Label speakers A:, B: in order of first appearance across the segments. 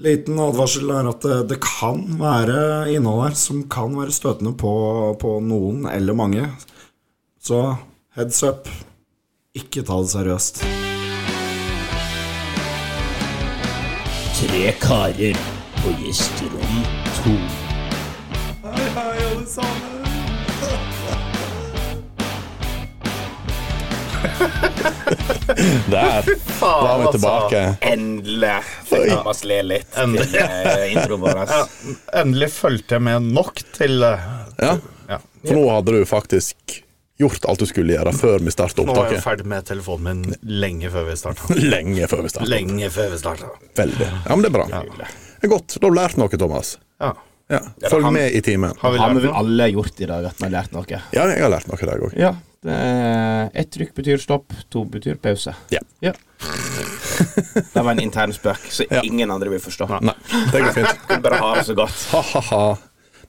A: Liten advarsel er at eh, det, det kan være innhold her som kan være støtende på, på noen eller mange. Så heads up. Ikke ta det seriøst.
B: Tre karer på gjesterom to.
C: Der var vi tilbake.
D: altså. Endelig fikk Thomas le litt til eh, introen vår.
E: Ja, endelig fulgte jeg med nok til eh,
C: Ja.
E: ja.
C: For nå hadde du faktisk gjort alt du skulle gjøre før vi starta
E: Nå var jeg
C: opptaket.
E: ferdig med telefonen min lenge før vi starta.
C: Lenge før vi starta.
E: Lenge før vi starta.
C: Veldig. Ja, men det er bra. Det er godt. Da har du lært noe, Thomas.
E: Ja.
C: Ja. Følg med i timen.
E: Har vi
B: Har vi
E: lært
B: vel
E: noe?
B: alle gjort i dag at vi har lært noe?
C: Ja, jeg har lært noe i dag òg.
B: Ja. det er- Ett trykk betyr stopp, to betyr pause.
C: Ja.
B: Det var en intern spøk, så
C: Ja.
B: ingen andre vil forstå.
C: Nei, det går fint.
B: Vi bare har det så godt.
C: Ha-ha-ha.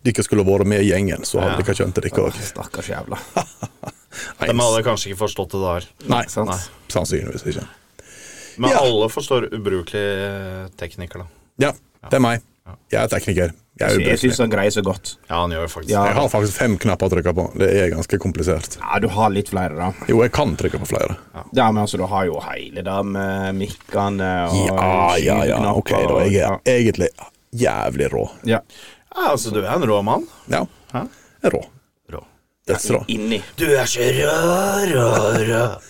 C: Dere skulle vært med i gjengen, så hadde dere skjønt det, dere òg.
B: Stakkars jævla.
E: De hadde kanskje ikke forstått det der.
C: Nei,
B: Sant?
E: Nei.
C: sannsynligvis ikke.
E: Men
C: Ja.
E: alle forstår ubrukelig eh, tekniker, da.
C: Ja, det er meg. Jeg er tekniker. Jeg er
B: Jeg syns
C: ubrukelig.
B: han greier så godt.
E: Ja, han gjør jo faktisk
B: Ja.
C: Jeg har faktisk fem knapper å trykke på. Det er ganske komplisert.
B: Ja, du har litt flere, da.
C: Jo, jeg kan trykke på flere.
B: Ja, men altså, du har jo hele det med mikkene og
C: Ja, ja, ja. Ok, da.
B: og-
C: Jeg
B: ja.
C: er egentlig jævlig rå.
B: ja.
E: Ja, altså, du er en rå mann.
C: Ja.
E: Hæ?
C: Jeg er rå.
E: Rå.
C: Dødsrå.
B: Inni.
D: Du er så rå, rå, rå.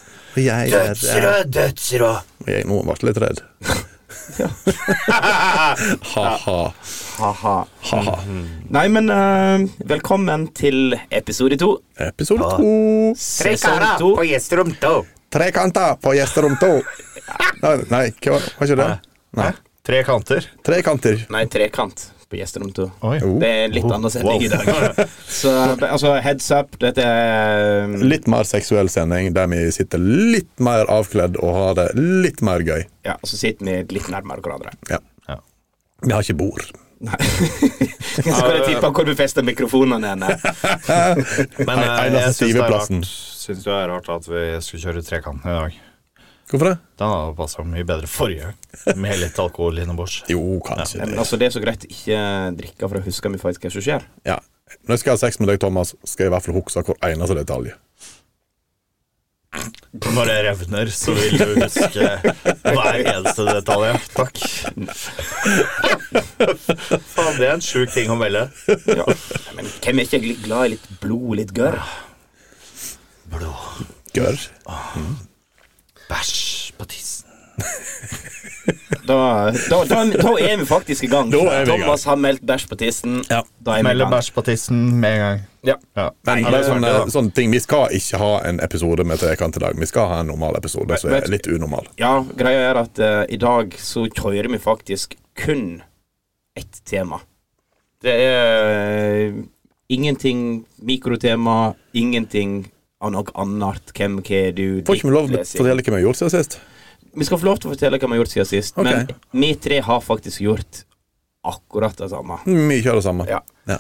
C: Jeg eh,
D: Dødsrå, dødsrå.
C: Jeg nå ble jeg litt redd. Ha-ha.
B: Ha-ha.
C: Ha-ha.
B: Nei, men eh, velkommen til episode to.
C: Episode to.
D: Tre karer
B: to.
D: på gjesterom to.
C: Trekanter på gjesterom to. Nei, nei, hva var var ikke det? Nei.
E: Tre kanter.
C: Trekanter.
B: Nei, trekant på gjesterom to.
E: Oi.
B: Det er en litt
C: Oh.
B: annen sending
E: Wow.
B: i dag. Så altså, heads up, dette er
C: Litt mer seksuell sending, der vi sitter litt mer avkledd og har det litt mer gøy.
B: Ja, så sitter vi litt nærmere hverandre.
C: Ja.
E: Ja.
C: Vi har ikke bord.
B: Nei. Så kan jeg tippe hvor du fester mikrofonene henne.
E: Men
C: Nei,
E: eh,
C: nei, la
E: jeg
C: oss
E: syns
C: stive
E: det, er
C: plassen.
E: rart- syns det er rart at vi skulle kjøre trekant i dag.
C: Hvorfor det?
E: Den hadde passa mye bedre forrige, med litt alkohol innebords.
C: Jo, kanskje
B: Men
C: det.
B: altså, det er så greit å ikke drikke, for da husker vi faktisk hva som skjer.
C: Ja. Når jeg skal ha sex med deg, Thomas, skal jeg i hvert fall huske hver eneste detalj.
E: Når jeg revner, så vil du huske hver eneste detalj. Takk. Faen, det er en sjuk ting å melde.
B: Ja. Men hvem er ikke gl- glad i litt blod, litt gørr?
E: Blod.
C: Gørr.
E: Bæsj på tissen.
B: Da, da, da, da er vi faktisk i gang.
C: Da er vi i gang.
B: Thomas har meldt bæsj på tissen.
C: Ja.
B: Da er vi i
E: Melde
B: gang.
E: bæsj på tissen med en gang.
B: Ja.
E: Ja.
C: Men
E: Nei,
C: det er
B: sånn
C: sånne,
E: det er sant, ja.
C: sånne ting. Vi skal ikke ha en episode med trekant i dag. Vi skal ha en normal episode som
B: vet-
C: er litt unormal.
B: Ja, greia er at eh, i dag så kjører vi faktisk kun ett tema. Det er eh, ingenting mikrotema, ingenting av noe annet. Hvem, hva er du?
C: Får ikke vi lov til å
B: ditt lesing.
C: fortelle hva vi har gjort siden sist?
B: Vi skal få lov til å fortelle hva vi har gjort siden sist,
C: Ok.
B: men vi tre har faktisk gjort akkurat det samme.
C: Mye av det samme.
B: Ja.
C: Ja.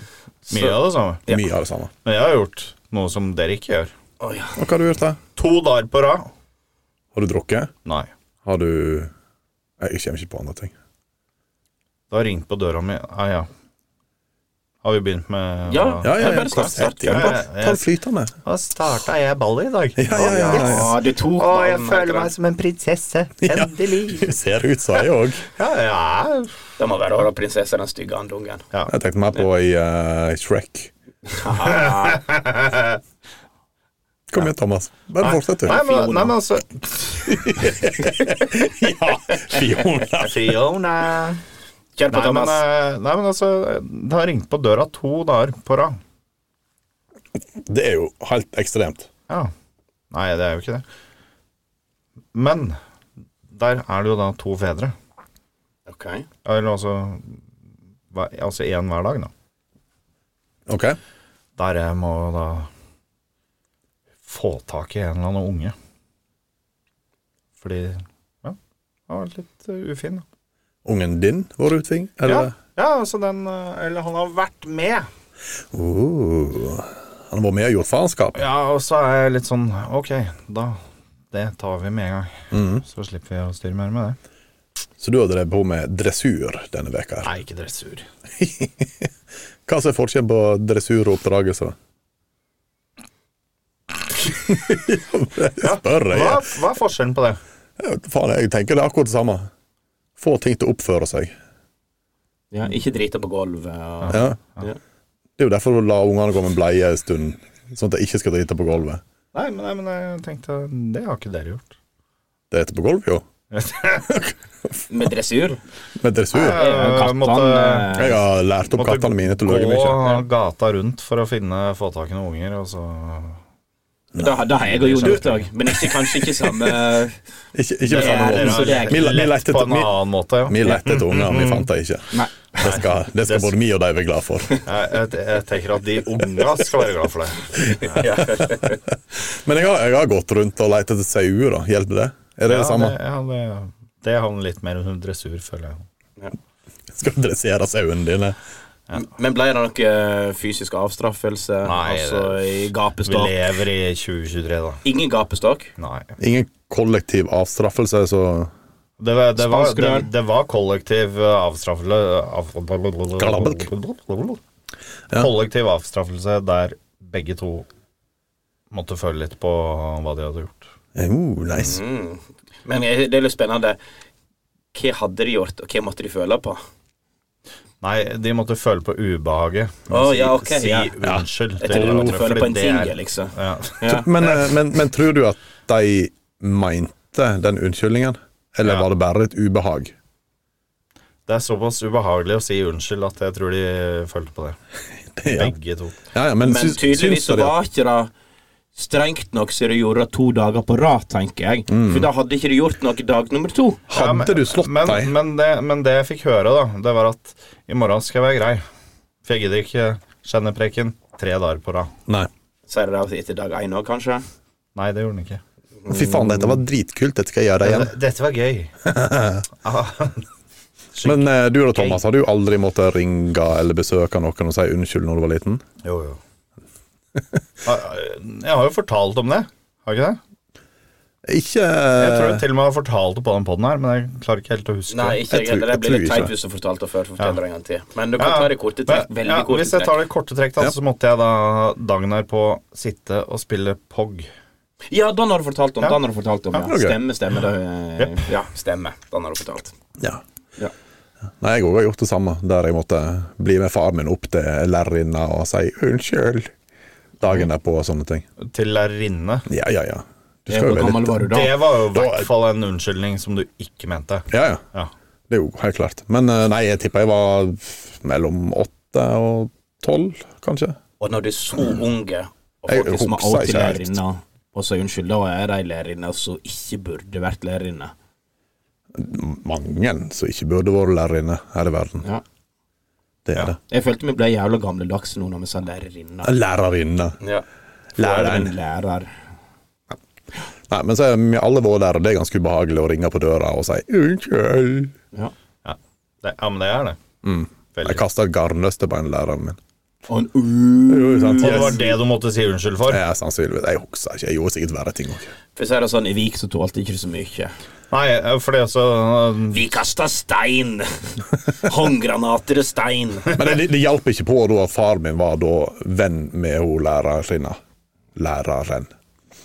E: Mye av det samme.
B: Ja.
C: Mye av det samme.
E: Men jeg har gjort noe som dere ikke gjør.
B: Å ja.
C: Og hva har du gjort, da?
E: To dager på rad.
C: Har du drukket?
E: Nei.
C: Har du Nei, Jeg kommer ikke på andre ting.
E: Det har ringt på døra mi. Ah, ja. Har vi begynt med
B: Ja.
C: Ja, ja,
B: Jeg
C: ja.
B: bare
C: Ta
B: start-
C: fett, ja.
E: start-
C: Bare
E: ja, ja.
C: Ta det flytende.
E: Da starta jeg ballet i dag.
C: Ja, ja, ja. ja,
B: Ah, du tok
D: Å, jeg
B: ballen,
D: føler
B: Margaret.
D: meg som en prinsesse. Endelig.
C: Det ser ut som jeg òg.
E: Ja, ja.
B: Det må være Åra prinsesse, den stygge andungen.
C: Jeg tenkte mer på i eh, Shrek. Kom igjen, Thomas. Bare fortsett,
E: Nei,
C: du.
E: men, nei, men altså
C: Ja, Fiona.
E: Fiona.
B: Kjør på,
E: Nei men,
B: Thomas.
E: eh, nei, men altså Det har ringt på døra to dager på rad.
C: Det er jo helt ekstremt.
E: Ja. Nei, det er jo ikke det. Men der er det jo da to fedre.
B: Ok.
E: Eller altså hver- Altså én hver dag, da.
C: OK?
E: Der jeg må da få tak i en eller annen unge. Fordi Ja, han har vært litt eh, ufin, da.
C: Ungen din var utving?
E: Ja,
C: Eller?
E: ja, altså den eh, Eller han har vært med.
C: Oh, han var med og gjort faenskap?
E: Ja, og så er jeg litt sånn Ok, da Det tar vi med en gang. Så slipper vi å styre mer med det.
C: Så du har drevet på med dressur denne veka her.
E: Nei, ikke dressur.
C: Hva som er forskjellen på dressur og oppdragelse? jeg spør, jeg.
E: Hva, hva er forskjellen på det?
C: Jeg vet Faen, jeg tenker det er akkurat det samme. Få ting til å oppføre seg.
B: Ja, ikke drite på gulvet. og-
C: Ja.
B: Ja.
C: Det er jo derfor du lar ungene gå med bleie en stund, sånn at de ikke skal drite på gulvet.
E: Nei, men, nei, men jeg tenkte Det har ikke dere gjort.
C: Drite på gulvet, jo.
B: Med dressur. eh,
C: Med dressur.
E: Jeg måtte,
B: Kattene
C: Jeg har lært opp
E: måtte
C: kattene mine til å løye mye.
E: gå gata rundt for å finne, få tak i noen unger, og så
B: da, da har jeg og Jon gjort det òg, men ikke, kanskje ikke samme
C: Ikke, ikke på samme
B: det er-
C: måte.
B: så det er-
C: Vi le- vi
E: Lett
C: lette
E: på
C: etter-
E: en
C: vi-
E: annen Mm. måte, ja.
C: vi lette etter unger, vi fant dem ikke.
B: Nei.
C: Det skal, det skal både vi og de være glad for.
E: Jeg, jeg, jeg tenker at de unga skal være glad for det.
C: Men jeg har, jeg har gått rundt og lett etter sauer. da. Hjelper det? Er det det
E: Ja,
C: samme?
E: det, ja, det, det havner litt mer under dressur, føler jeg.
C: Skal du dressere sauene dine?
B: Men ble det noe fysisk avstraffelse?
E: Nei,
B: altså i
E: Vi
B: gapestokk?
E: lever i 2023, da.
B: Ingen gapestokk?
E: Nei.
C: Ingen kollektiv avstraffelse, så
E: Det var, det var,
B: Spansk
E: det,
B: rør.
E: det var kollektiv eh, avstraffelse av,
C: Ja.
E: Kollektiv avstraffelse der begge to måtte føle litt på eh, hva de hadde gjort.
C: oh, nice.
B: Mm. Men eh, det er litt spennende. Hva hadde de gjort, og hva måtte de føle på?
E: Nei, de måtte føle på ubehaget.
B: Å,
E: si,
B: ja, ok,
E: si
B: ja.
E: unnskyld.
B: Jeg tror de måtte føle på en ting,
E: ting
B: liksom.
E: Ja.
B: Ja.
C: Men, eh, men, men tror du at de mente den unnskyldningen? Eller
E: Ja.
C: var det bare et ubehag?
E: Det er såpass ubehagelig å si unnskyld at jeg tror de følte på det.
C: Ja,
E: Begge to.
C: ja, ja, men,
B: Men
C: syns-
B: tydeligvis
C: syns
B: så
C: du det?
B: var ikke det strengt nok så de gjorde det to dager på rad, tenker jeg.
C: Mm.
B: For da hadde ikke de gjort noe dag nummer to.
E: Ja, men-
C: Hadde du slått
E: men,
C: dem?
E: Men det, men det jeg fikk høre, da, det var at i morgen skal jeg være grei. For jeg gidder ikke kjennepreken tre dager på rad.
C: Nei.
B: Sier de det etter dag én òg, kanskje?
E: Nei, det gjorde han ikke.
C: Fy faen, dette var dritkult. Dette skal jeg gjøre igjen.
E: Dette, dette var gøy. Ah,
C: Men eh, du da, Thomas, har du aldri måttet ringe eller besøke noen og si unnskyld når du var liten?
E: jo, jo. Ah, Jeg har jo fortalt om det, har jeg ikke det?
C: Ikke
E: Jeg tror jeg til og med har fortalt det på den poden her, men jeg klarer ikke helt å huske
B: Eh. Nei,
E: det.
B: ikke
C: Jeg
B: jeg
C: tror-
B: heller. Det
C: jeg
B: blir litt
C: tror ikke.
B: teit hvis du fortalte det før. så forteller jeg en gang til. Men du kan
E: Ja,
B: ta det i korte trekk.
E: men-
B: Veldig
E: ja,
B: korte
E: hvis jeg
B: trekk.
E: tar det i korte trekk, da,
C: Ja.
E: så måtte jeg da dagen her på sitte og spille POG.
B: Ja, den har du fortalt om.
E: Ja.
B: Den har du fortalt om, ja.
C: ok.
B: Stemme, stemme. Det, eh, ja, stemme. Den har du fortalt.
C: eh, Ja.
B: Ja.
C: Nei, jeg òg har gjort det samme, der jeg måtte bli med far min opp til lærerinna og si unnskyld dagen derpå og sånne ting.
E: Til lærerinne.
C: Ja, ja, ja. Du skal jo
B: Hvor
C: være
B: gammel
C: litt
B: var du da?
E: Det var jo i
C: Da-
E: hvert fall en unnskyldning som du ikke mente.
C: Ja, ja.
E: Ja.
C: Det er jo helt klart. Men eh, nei, jeg tipper jeg var mellom åtte og tolv, kanskje.
B: Og når du er så unge, og
C: Jeg
B: folk som er
C: husker
B: alltid
C: ikke helt.
B: lærerinner og så unnskyld, da er de lærerinner som ikke burde vært lærerinner.
C: Mange som ikke burde vært lærerinne her i verden.
B: Ja.
C: Det er det.
B: Jeg følte vi ble jævla gammeldags nå når vi sa lærerinner.
C: Lærerinne.
B: Ja.
C: Læreren.
B: en lærer.
C: Nei, men så er vi alle våre lærere. Det er ganske ubehagelig å ringe på døra og si unnskyld.
B: Ja.
E: Ja. Det, ja, men det er det.
C: Jeg
E: Veldig.
C: kasta et garnnøste på en lærer min.
B: Og en u-
C: Jo, sant?
E: Og det var
C: Yes.
E: det du måtte si unnskyld for?
C: Ja, sannsynligvis. Jeg husker ikke. Jeg gjorde sikkert verre ting òg.
B: For å si det sånn, i Vik så tålte ikke du så mye.
E: Nei, eh, for det også øh,
B: Vi kasta stein! Håndgranater og stein.
C: Men det, det hjalp ikke på da at far min var da venn med hun lærerinna. Læreren.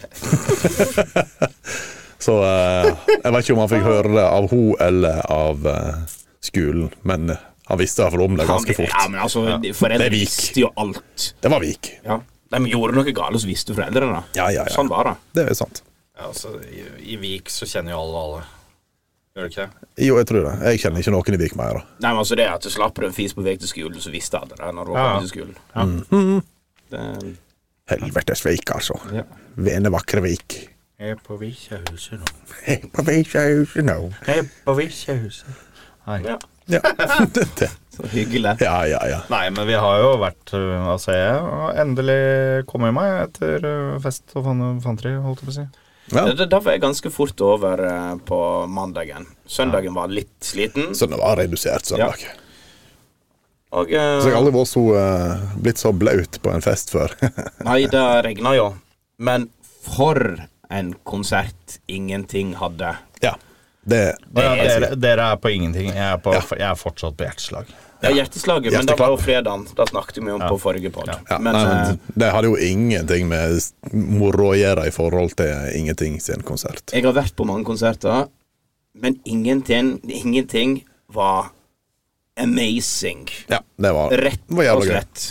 C: Så eh, jeg vet ikke om han fikk høre det av hun eller av eh, skolen, men eh, han visste i hvert fall om det ganske
B: Ja,
C: fort.
B: men altså, de- foreldre
C: Det er Vik.
B: visste jo alt.
C: Det var Vik.
B: Ja. De gjorde noe galt, så visste foreldrene.
C: Ja, ja, ja.
B: Sånn var det.
C: Det er sant.
E: ja, altså, i, I Vik så kjenner jo alle alle. Gjør det ikke det?
C: Jo, jeg tror det. Jeg kjenner ikke noen i Vik mer. da.
B: Nei, men altså det at du slapp en fis på vei til skolen, så visste alle det når du var
E: Ja.
B: på vei til skolen.
E: Mm.
B: Det,
C: Helvetes Vik, altså.
B: Ja.
C: Vene vakre Vik.
E: Jeg er på Vikjehuset nå.
C: På Vikhuset nå.
E: Jeg er på Vikjehuset. Nei.
B: ja.
C: Ja. Det-
B: Så hyggelig.
C: ja, ja, ja.
E: Nei, men vi har jo vært øh, Altså, jeg har endelig kommet meg etter øh, fest og fan- fanteri, holdt jeg på å si.
C: ja.
B: Det, det, da var jeg ganske fort over eh, på mandagen. Søndagen var litt sliten.
C: Så det var redusert søndag.
B: Ja. Og eh,
C: Så jeg har aldri vært så, eh, blitt så blaut på en fest før.
B: Nei, det regna jo. Men for en konsert ingenting hadde.
C: ja. Det
E: Å Ja, dere, dere er på ingenting. Jeg er, på, jeg er fortsatt på hjerteslag.
B: Det er hjerteslaget, men det var jo
C: Hjerteklapp.
B: fredagen. Da snakket vi om på forrige pod.
C: ja,
B: Men
C: nei,
B: eh,
C: det hadde jo ingenting med s- moro å gjøre i forhold til ingenting sin konsert.
B: jeg har vært på mange konserter, men ingenting, ingenting var amazing.
C: Ja, det var,
B: Rett
C: det var
B: og
C: jævla gøy.
B: slett.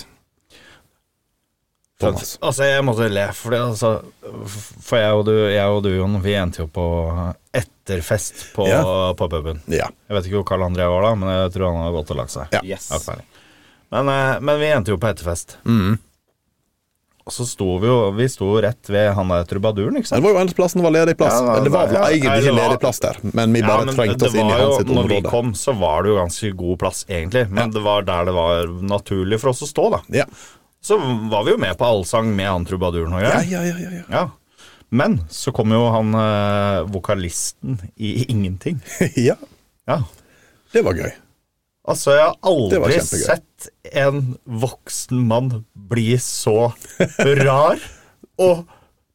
C: Thomas.
E: Altså, jeg måtte le, for, det, altså, for jeg, og du, jeg og du, Jon, vi endte jo på etterfest på,
C: Ja.
E: på puben.
C: Ja.
E: Jeg vet ikke hvor Karl André var da, men jeg tror han hadde gått og lagt seg.
C: Ja.
B: Yes.
E: Jeg har ikke peiling. Men, eh, men vi endte jo på etterfest.
C: Mm.
E: Og så sto vi jo Vi sto jo rett ved han der trubaduren, ikke
C: Men
E: sant?
C: det var jo eneste plassen det var ledig plass.
E: Ja, det var-
C: Eller det var vel
E: ja,
C: egentlig
E: nei, det
C: ikke
E: var-
C: ledig plass der, men vi
E: Ja,
C: bare
E: men
C: trengte oss
E: det
C: inn i
E: var
C: hans
E: jo-
C: sitt
E: Når vi
C: område.
E: kom, så var det jo ganske god plass, egentlig. Men det var der det var naturlig for oss å stå, da.
C: Ja.
E: Så var vi jo med på allsang med han trubaduren og
C: Ja,
E: greier.
C: ja, ja, ja, ja.
E: Ja. Men så kom jo han eh, vokalisten i Ingenting.
C: ja.
E: Ja.
C: Det var gøy.
E: Altså, jeg har
C: Det var
E: aldri
C: kjempegøy.
E: sett en voksen mann bli så rar og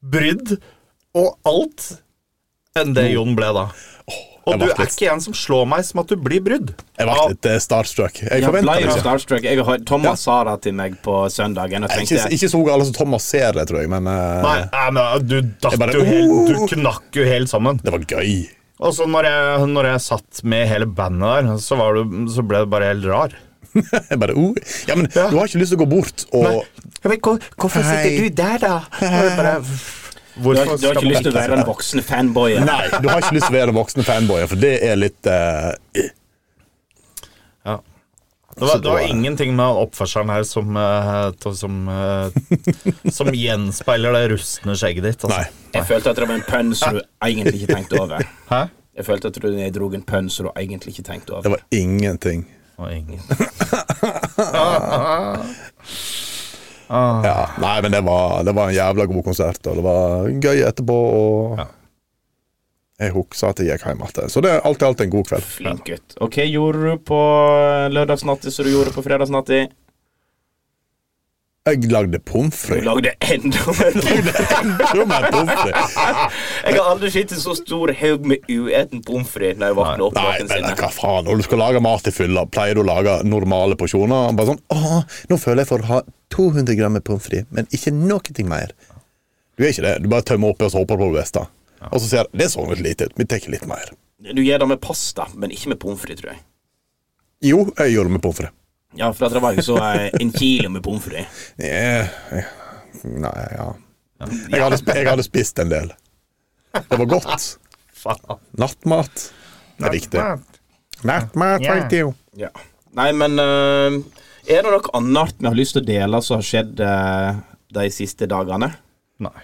E: brydd og alt enn det Jon ble da. Og
C: jeg
E: du
C: ble
E: er
C: litt-
E: ikke en som slår meg som at du blir brydd.
C: Jeg ble litt eh, starstruck. Jeg
B: Jeg
C: forventa
B: ble
C: det
B: jo
C: ikke.
B: starstruck. Jeg, har- Thomas sa det til meg på søndagen, og
C: Jeg er Ikke,
B: tenkte
C: ikke så alle som Thomas ser det, tror jeg, men eh,
E: Nei, nei, men du datt
C: Jeg bare,
E: jo helt
C: «Oh!»
E: Du knakk jo helt sammen.
C: det var gøy.
E: Og så når jeg, når jeg satt med hele bandet der, så, var du, så ble du bare helt rar.
C: Jeg bare, oh. Ja, men
E: Ja.
C: du har ikke lyst til å gå bort og
E: Jeg vet, hvor- hvorfor
C: Hei.
E: sitter du der, da? Og jeg bare,
B: Du har, du har
E: skal
B: ikke
E: man
B: lyst til å være den voksne fanboyen.
C: Nei, du har ikke lyst til å være den voksne fanboyen, for det er litt eh,
E: Ja. Det var,
C: Så
E: det var
C: da-
E: ingenting med oppførselen her som, eh, to- som, eh, som gjenspeiler det rustne skjegget ditt. Altså.
C: Nei.
B: Jeg følte at det var en pønn som du egentlig ikke tenkte over.
E: Hæ?
B: Jeg følte at du jeg dro en pønn som du egentlig ikke tenkte
C: Det
B: over.
C: var ingenting.
E: Det var ingen. Ah.
C: Ja. Nei, men det var, det var en jævla god konsert, og det var gøy etterpå, og
E: Ja.
C: Jeg husker at jeg gikk hjem igjen. Så det er alt i alt en god kveld.
B: Flink gutt. Og hva gjorde du på lørdagsnatta som du gjorde på fredagsnatta?
C: Jeg lagde pommes
B: Du
C: frites.
B: lagde enda mer.
C: Jo, men pommes frites.
B: Jeg har aldri sett en så stor haug med ueten pommes frites når jeg våkner opp
C: Nei,
B: noen
C: men
B: sinne.
C: hva faen, når du skal lage mat i fylla, pleier du å lage normale porsjoner? Bare sånn, åh, nå føler jeg for å ha 200 gram med pommes frites, men ikke noe ting mer. Du er ikke det, du bare tømmer oppi og så håper på det beste. Og så sier jeg, det så litt lite ut, vi tar litt mer.
B: Du gjør det med pasta, men ikke med pommes frites, tror jeg.
C: Jo, jeg gjorde det med pommes frites.
B: Ja, for at det var jo så eh, en kilo med pommes frites.
C: Eh, eh, Nei, ja. Jeg hadde, sp- jeg hadde spist en del. Det var godt.
E: Faen.
C: Nattmat. Det er viktig. Nattmat,
E: Ja.
C: vet du.
B: Ja. Nei, men eh, er det noe annet vi har lyst til å dele som har skjedd eh, de siste dagene?
E: Nei.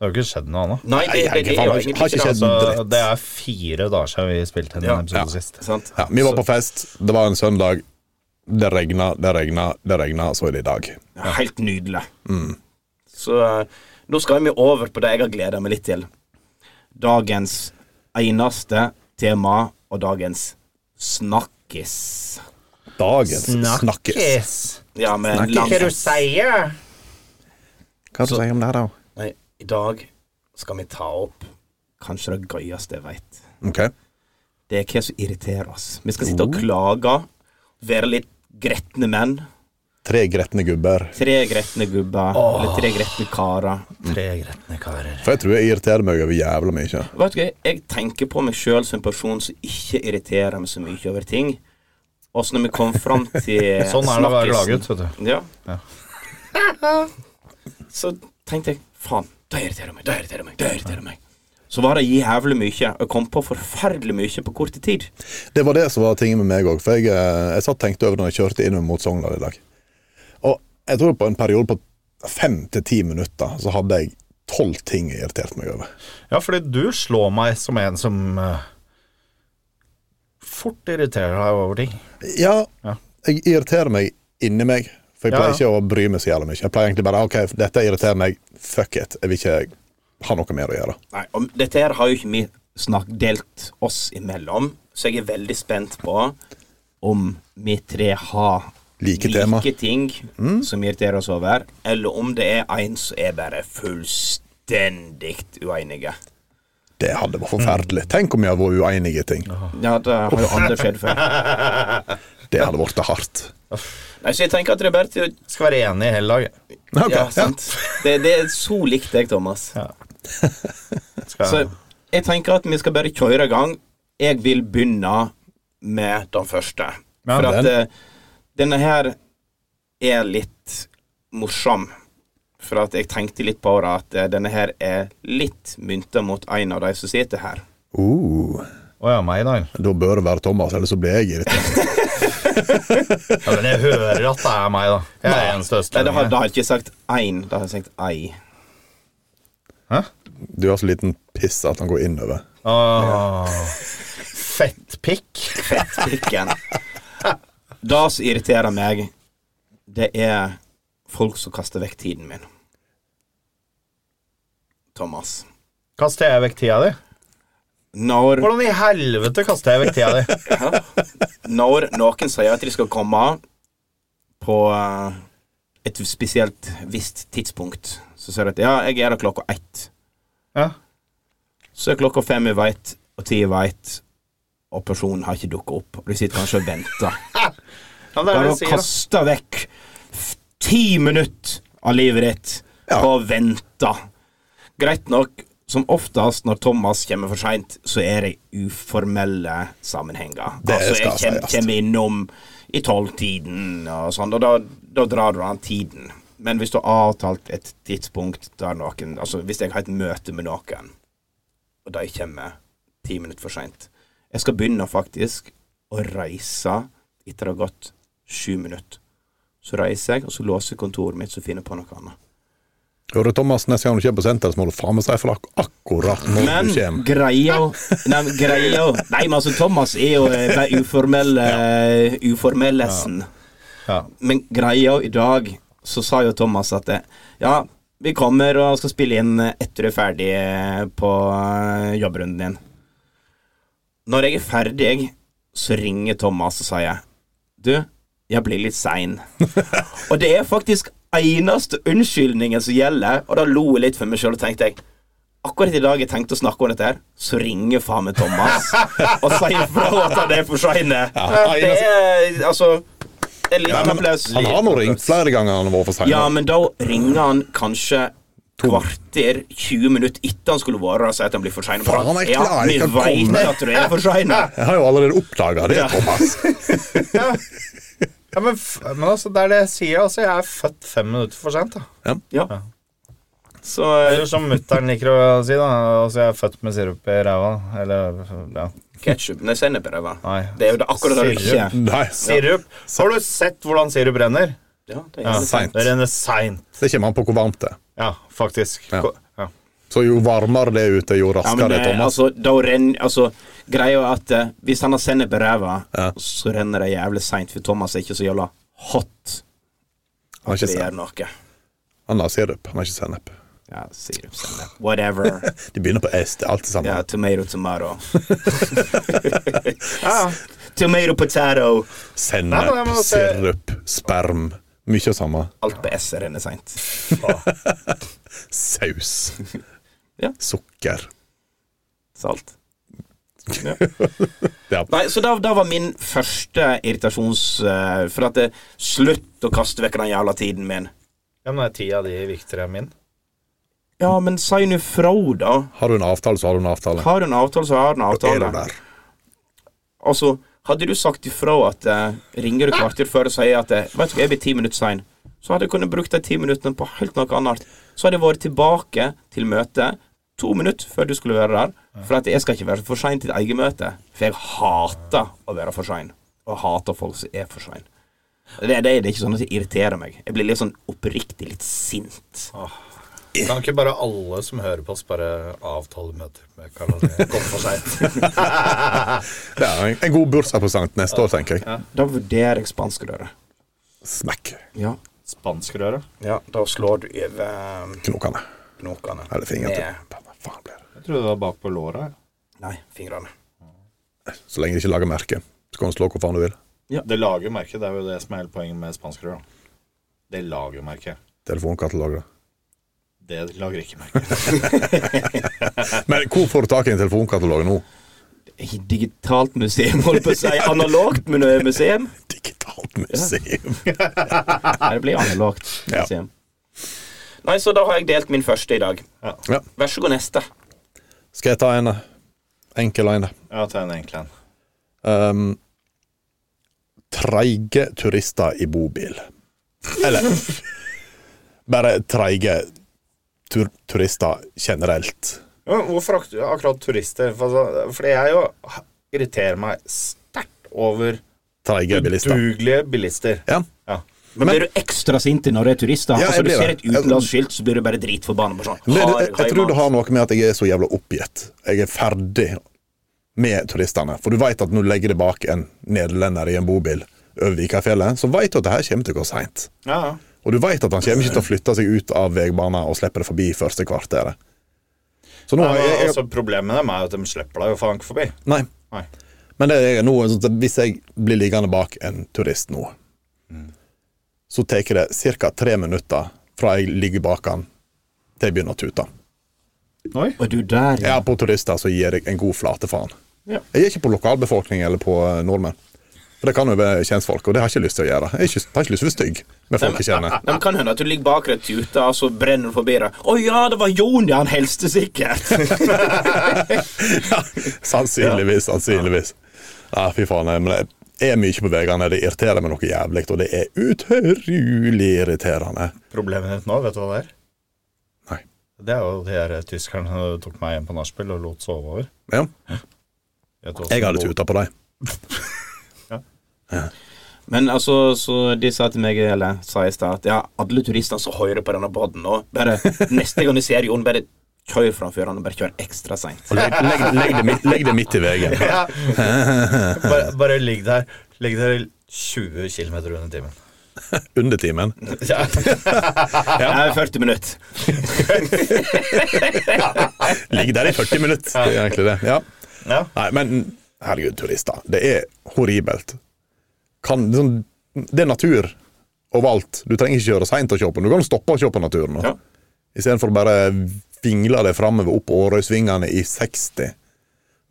E: Det har jo ikke skjedd noe annet.
B: Nei, det,
C: Nei,
B: det, det er jo
C: har
B: egentlig
C: ikke
B: ikke det.
C: skjedd
E: Altså,
C: dritt.
E: det er fire dager siden vi spilte inn
B: Ja.
E: en episode sist.
B: Sant?
C: Ja, vi var på fest, det var en søndag. Det regna, det regna, det regna, så er det i dag.
B: Ja, Helt nydelig. Så eh, nå skal vi over på det jeg har gleda meg litt til. Dagens eneste tema og dagens snakkis.
C: Dagens snakkes.
B: Ja, men
C: Snakkis.
B: lang-
C: Hva du
E: sier?
C: Hva du sier om det, da?
B: Nei, I dag skal vi ta opp kanskje det gøyeste jeg veit.
C: Ok,
B: Det er hva som irriterer oss. Vi skal
C: Oh.
B: sitte og klage, være litt gretne menn.
C: Tre gretne gubber.
B: Tre gretne gubber, eller tre gretne karer.
C: Mm.
E: Tre gretne karer.
C: For jeg tror jeg irriterer meg over jævla mye.
B: Vet du hva, jeg tenker på meg sjøl som en person som ikke irriterer meg så mye over ting. Og så når vi kom fram til
E: Sånn er det å være
B: snakkisen-
E: laget, vet du.
B: Ja.
E: Ja.
B: så tenkte jeg faen, det irriterer meg, det irriterer meg, det irriterer meg. Så var det jævlig mye. Jeg kom på forferdelig mye på kort tid.
C: Det var det som var tingen med meg òg. For jeg, eh, jeg satt og tenkte over det når jeg kjørte inn mot Sogndal i dag. Og jeg tror på en periode på fem til ti minutter så hadde jeg tolv ting jeg irriterte meg over.
E: Ja, fordi du slår meg som en som eh, fort irriterer deg over ting.
C: Ja,
E: Ja.
C: jeg irriterer meg inni meg. For jeg
E: Ja,
C: pleier
E: ja.
C: ikke å bry meg så jævlig mye. Jeg pleier egentlig bare OK, dette irriterer meg. Fuck it. Jeg vil ikke ha noe mer å gjøre.
B: Nei, og dette her har jo ikke vi snakk delt oss imellom, så jeg er veldig spent på om vi tre har
C: Like tema. Mm.
B: ting som irriterer oss over, eller om det er en som er bare fullstendig uenige.
C: Det hadde vært
E: Mm.
C: forferdelig. Tenk om vi hadde vært uenige i ting.
B: Ja, det har jo aldri skjedd før.
C: Det hadde blitt hardt.
B: Nei, så jeg tenker at det er bare til å
E: Skal være enig i hele dag.
C: Ok,
B: Ja,
C: ja.
B: sant. Det, det er så likt deg, Thomas.
E: Skal
B: Så jeg tenker at vi skal bare kjøre i gang. Jeg vil begynne med den første.
E: Ja,
B: For at
C: den.
B: eh, denne her er litt morsom. For at jeg tenkte litt på det, at eh, denne her er litt mynta mot en av de som sitter her.
C: Uh,
E: Å ja, meg i dag.
C: da bør det være Thomas, ellers så blir jeg irritert.
E: Ja, men jeg hører at det er meg, da. Jeg er eneste
B: Nei, det har,
E: østlending.
B: det har ikke sagt én, det har sagt ei.
E: Hæ?
C: Du har så liten piss at han går innover.
E: Åh. Fettpikk.
B: Fettpikken. Det som irriterer meg, det er folk som kaster vekk tiden min. Thomas.
E: Kaster jeg vekk tida di?
B: Når
E: Hvordan i helvete kaster jeg vekk tida di?
B: Når noen sier at de skal komme på eh, et spesielt visst tidspunkt, så sier de at ja, jeg er der klokka ett.
E: Ja.
B: Så er klokka fem jeg veit, og ti jeg veit, og personen har ikke dukka opp. Og de sitter kanskje og venter.
E: Ja, men det er
B: Bare å
E: det jeg sier. da.
B: kaste vekk f- ti minutter av livet ditt
C: Ja.
B: på å vente. Greit nok, som oftest når Thomas kommer for seint, så er det uformelle sammenhenger.
C: Det
B: altså, jeg
C: skal
B: kjem,
C: sies.
B: kommer innom i tolvtiden og sånn, og da, da drar du an tiden. Men hvis du har avtalt et tidspunkt der noen Altså, hvis jeg har et møte med noen, og de kommer ti minutter for seint Jeg skal begynne faktisk å reise etter det har gått sju minutter. Så reiser jeg, og så låser jeg kontoret mitt, så finner jeg på noe annet.
C: Hører du Thomas neste gang du kommer på senteret, så må du faen meg si fra ak- akkurat når
B: Men
C: du kommer.
B: greia Nei, men greia Nei, men altså, Thomas er jo eh, den uformelle eh, uformellesen.
E: Ja.
B: Men greia i dag, så sa jo Thomas at eh, ja, vi kommer og skal spille inn eh, etter du er ferdig eh, på eh, jobbrunden din. Når jeg er ferdig, så ringer Thomas og sier Du, jeg blir litt sein. og det er faktisk eneste unnskyldningen som gjelder, og da lo jeg litt for meg sjøl og tenkte jeg Akkurat i dag jeg tenkte å snakke om dette, her så ringer faen meg Thomas og sier fra at han er for seine.
C: Ja,
B: det er altså Det er litt applaus.
C: Han har nå ringt flere ganger han har vært for sein.
B: Ja, men da ringer han kanskje kvarter, 20 minutter etter han skulle vært der og sier at han blir for sein.
C: Faen, jeg
B: Ja,
C: klarer
B: vi
C: ikke å komme.
B: veit at du er for sein.
C: Jeg har jo allerede oppdaga det,
B: Ja.
C: Thomas.
E: Ja, men, f men altså, det er det jeg sier. Altså, jeg er født fem minutter for sent. da.
B: Ja. Så
E: Eller som mutter'n liker å si, da. Altså, jeg er født med sirup i ræva. Eller ja.
B: ketsjup Nei, sennep er det, hva?
E: Nei.
B: Det er jo det akkurat det det ikke er.
C: Nei,
E: Sirup. Har du sett hvordan sirup renner?
B: Ja, det er
C: Seint.
E: Det renner seint.
C: det kommer an på hvor varmt det er.
E: Ja, faktisk.
C: Ja.
E: Ko- Ja.
C: Så jo varmere det er ute, jo
B: Ja, men
C: raskere er
B: det,
C: Thomas.
B: altså, da renner altså, Greia er at eh, hvis han har sennep i ræva, så renner det jævlig seint, for Thomas er ikke så jævla hot.
C: Han har ikke
B: Det
C: sen-
B: gjør noe.
C: han har sirup, han har ikke sennep.
B: Ja, sirupssennep. Whatever.
C: De begynner på S, det er alltid sammen.
B: Ja, tomato, tomato. Tomato, potato.
E: Nei, men
C: Sennep,
E: jeg må se-
C: sirup, sperm. Mye av samme.
B: Alt på S renner seint.
C: Saus.
B: Ja.
C: Sukker.
B: Salt.
C: Ja.
B: Nei, så da, da var min første irritasjons... eh, for at det, Slutt å kaste vekk den jævla tiden min.
E: ja, men er tida di viktigere enn min?
B: Ja, men si nå fra, da.
C: Har du en avtale, så har du en avtale.
B: Har du en avtale, så har du en
C: Er du
B: avtale.
C: der?
B: Altså, hadde du sagt ifra at eh, ringer du kvarter før og sier at eh, Vet du hva, jeg blir ti minutter sein, så hadde jeg kunnet brukt de ti minuttene på helt noe annet. Så hadde jeg vært tilbake til møtet to minutter før du skulle være der. For at jeg skal ikke være for sein til eget møte. For jeg hater å være for sein. Og jeg hater folk som er for sein. Det, det, det er ikke sånn at det irriterer meg. Jeg blir litt sånn oppriktig litt sint.
E: Kan ikke bare alle som hører på oss, bare avtale møter med Karl André? Kom for seint.
C: Det er en- en god bursdagspresang neste år, tenker jeg.
B: Da vurderer jeg spanskrøret.
C: Snakk.
B: Ja.
E: Spanskrøret?
D: Ja, da slår du over
B: um,
C: Knokene.
D: knokene.
C: Eller fingrene.
D: Med-
C: Faen blir det.
E: Jeg trodde det var bak på låra.
B: Nei, fingrene.
C: Så lenge de ikke lager merke, så kan du slå hvor faen du vil.
E: Det lager merke. Det er jo det som er hele poenget med spanskrøret. Det lager merke.
C: Telefonkataloger.
E: Det lager ikke merke.
C: Men hvor får du tak i en telefonkatalog nå?
B: I digitalt museum, holdt på å si. Analogt men, eh, museum.
C: Digitalt museum.
B: Nei, det blir analogt
C: Ja.
B: museum. Nei, så da har jeg delt min første i dag.
C: Ja.
B: Vær så god, neste.
C: Skal jeg ta en eh, enkel en?
E: Ja, ta en enkel en.
C: Um, treige turister i bobil. Eller bare treige tur turister generelt.
E: Ja, men hvorfor ak akkurat turister? For, altså, fordi jeg jo irriterer meg sterkt over
C: Treige bilister.
E: udugelige bilister.
C: Ja.
E: Ja.
B: Men, blir du ekstra sint når du er turister?
C: Ja,
B: altså,
C: jeg
B: du
C: blir
B: ser
C: det.
B: et utenlandsskilt, så blir du bare dritforbanna. bare Sånn.
C: Men det,
B: Har-
C: jeg, jeg tror det har noe med at jeg er så jævla oppgitt. Jeg er ferdig med turistene. For du veit at når du legger det bak en nederlender i en bobil over Vikafjellet, så veit du at det her kommer til å gå seint.
E: Ja, ja.
C: Og du veit at han kommer ikke til å flytte seg ut av veibanen og slippe det forbi første kvarteret. Så nå
E: Nei,
C: har
E: men,
C: jeg, jeg
E: altså, problemet med dem er jo at de slipper deg jo faen ikke forbi.
C: Nei.
E: Nei.
C: Men det er noe sånn at hvis jeg blir liggende bak en turist nå, så tar det ca. tre minutter fra jeg ligger bak han, til jeg begynner å tute.
B: Og du der,
C: Jeg er på turister, så gir jeg en god flate faen.
B: Ja.
C: Jeg er ikke på lokalbefolkning eller på eh, nordmenn. For det kan jo være kjentfolk, og det har jeg ikke lyst til å gjøre. Jeg er ikke, har ikke lyst til å være stygg med folk jeg kjenner.
B: Nei, men kan hende at du ligger bak deg tuta, og så brenner du forbi deg. 'Å ja, det var Jon, ja, han helste sikkert'.
C: Ja, sannsynligvis, sannsynligvis. Ja, fy faen. jeg- Men jeg er mye på veiene. Det irriterer meg noe jævlig, og det er utrolig irriterende.
E: Problemet ditt nå, vet du hva det er?
C: Nei.
E: Det er jo de her tyskerne som tok meg hjem på nachspiel og lot sove over.
C: Ja,
E: Vet du hva som
C: jeg hadde
E: lå-
C: tuta på dem.
B: men altså, så de sa til meg, eller sa i stad, at ja, alle turistene som hører på denne poden nå, bare neste gang du ser Jon, bare kjør framfor han, og bare kjør ekstra seint.
C: Og Legg, legg, legg, det, midt- legg det midt i veien.
E: Ja. Bare, bare ligg der. Ligg der i 20 km under timen.
C: Under timen.
E: Ja.
B: Ja. 40 minutter.
C: Ligg der i 40 minutter. Det er egentlig det. Ja.
E: Ja.
C: Nei, men herregud, turister. Det er horribelt. Kan, det, er sånn, det er natur overalt. Du trenger ikke kjøre seint og se på den. Du kan stoppe og se på naturen. nå.
B: Ja.
C: Istedenfor å bare vingle det framover opp Årøysvingene i 60.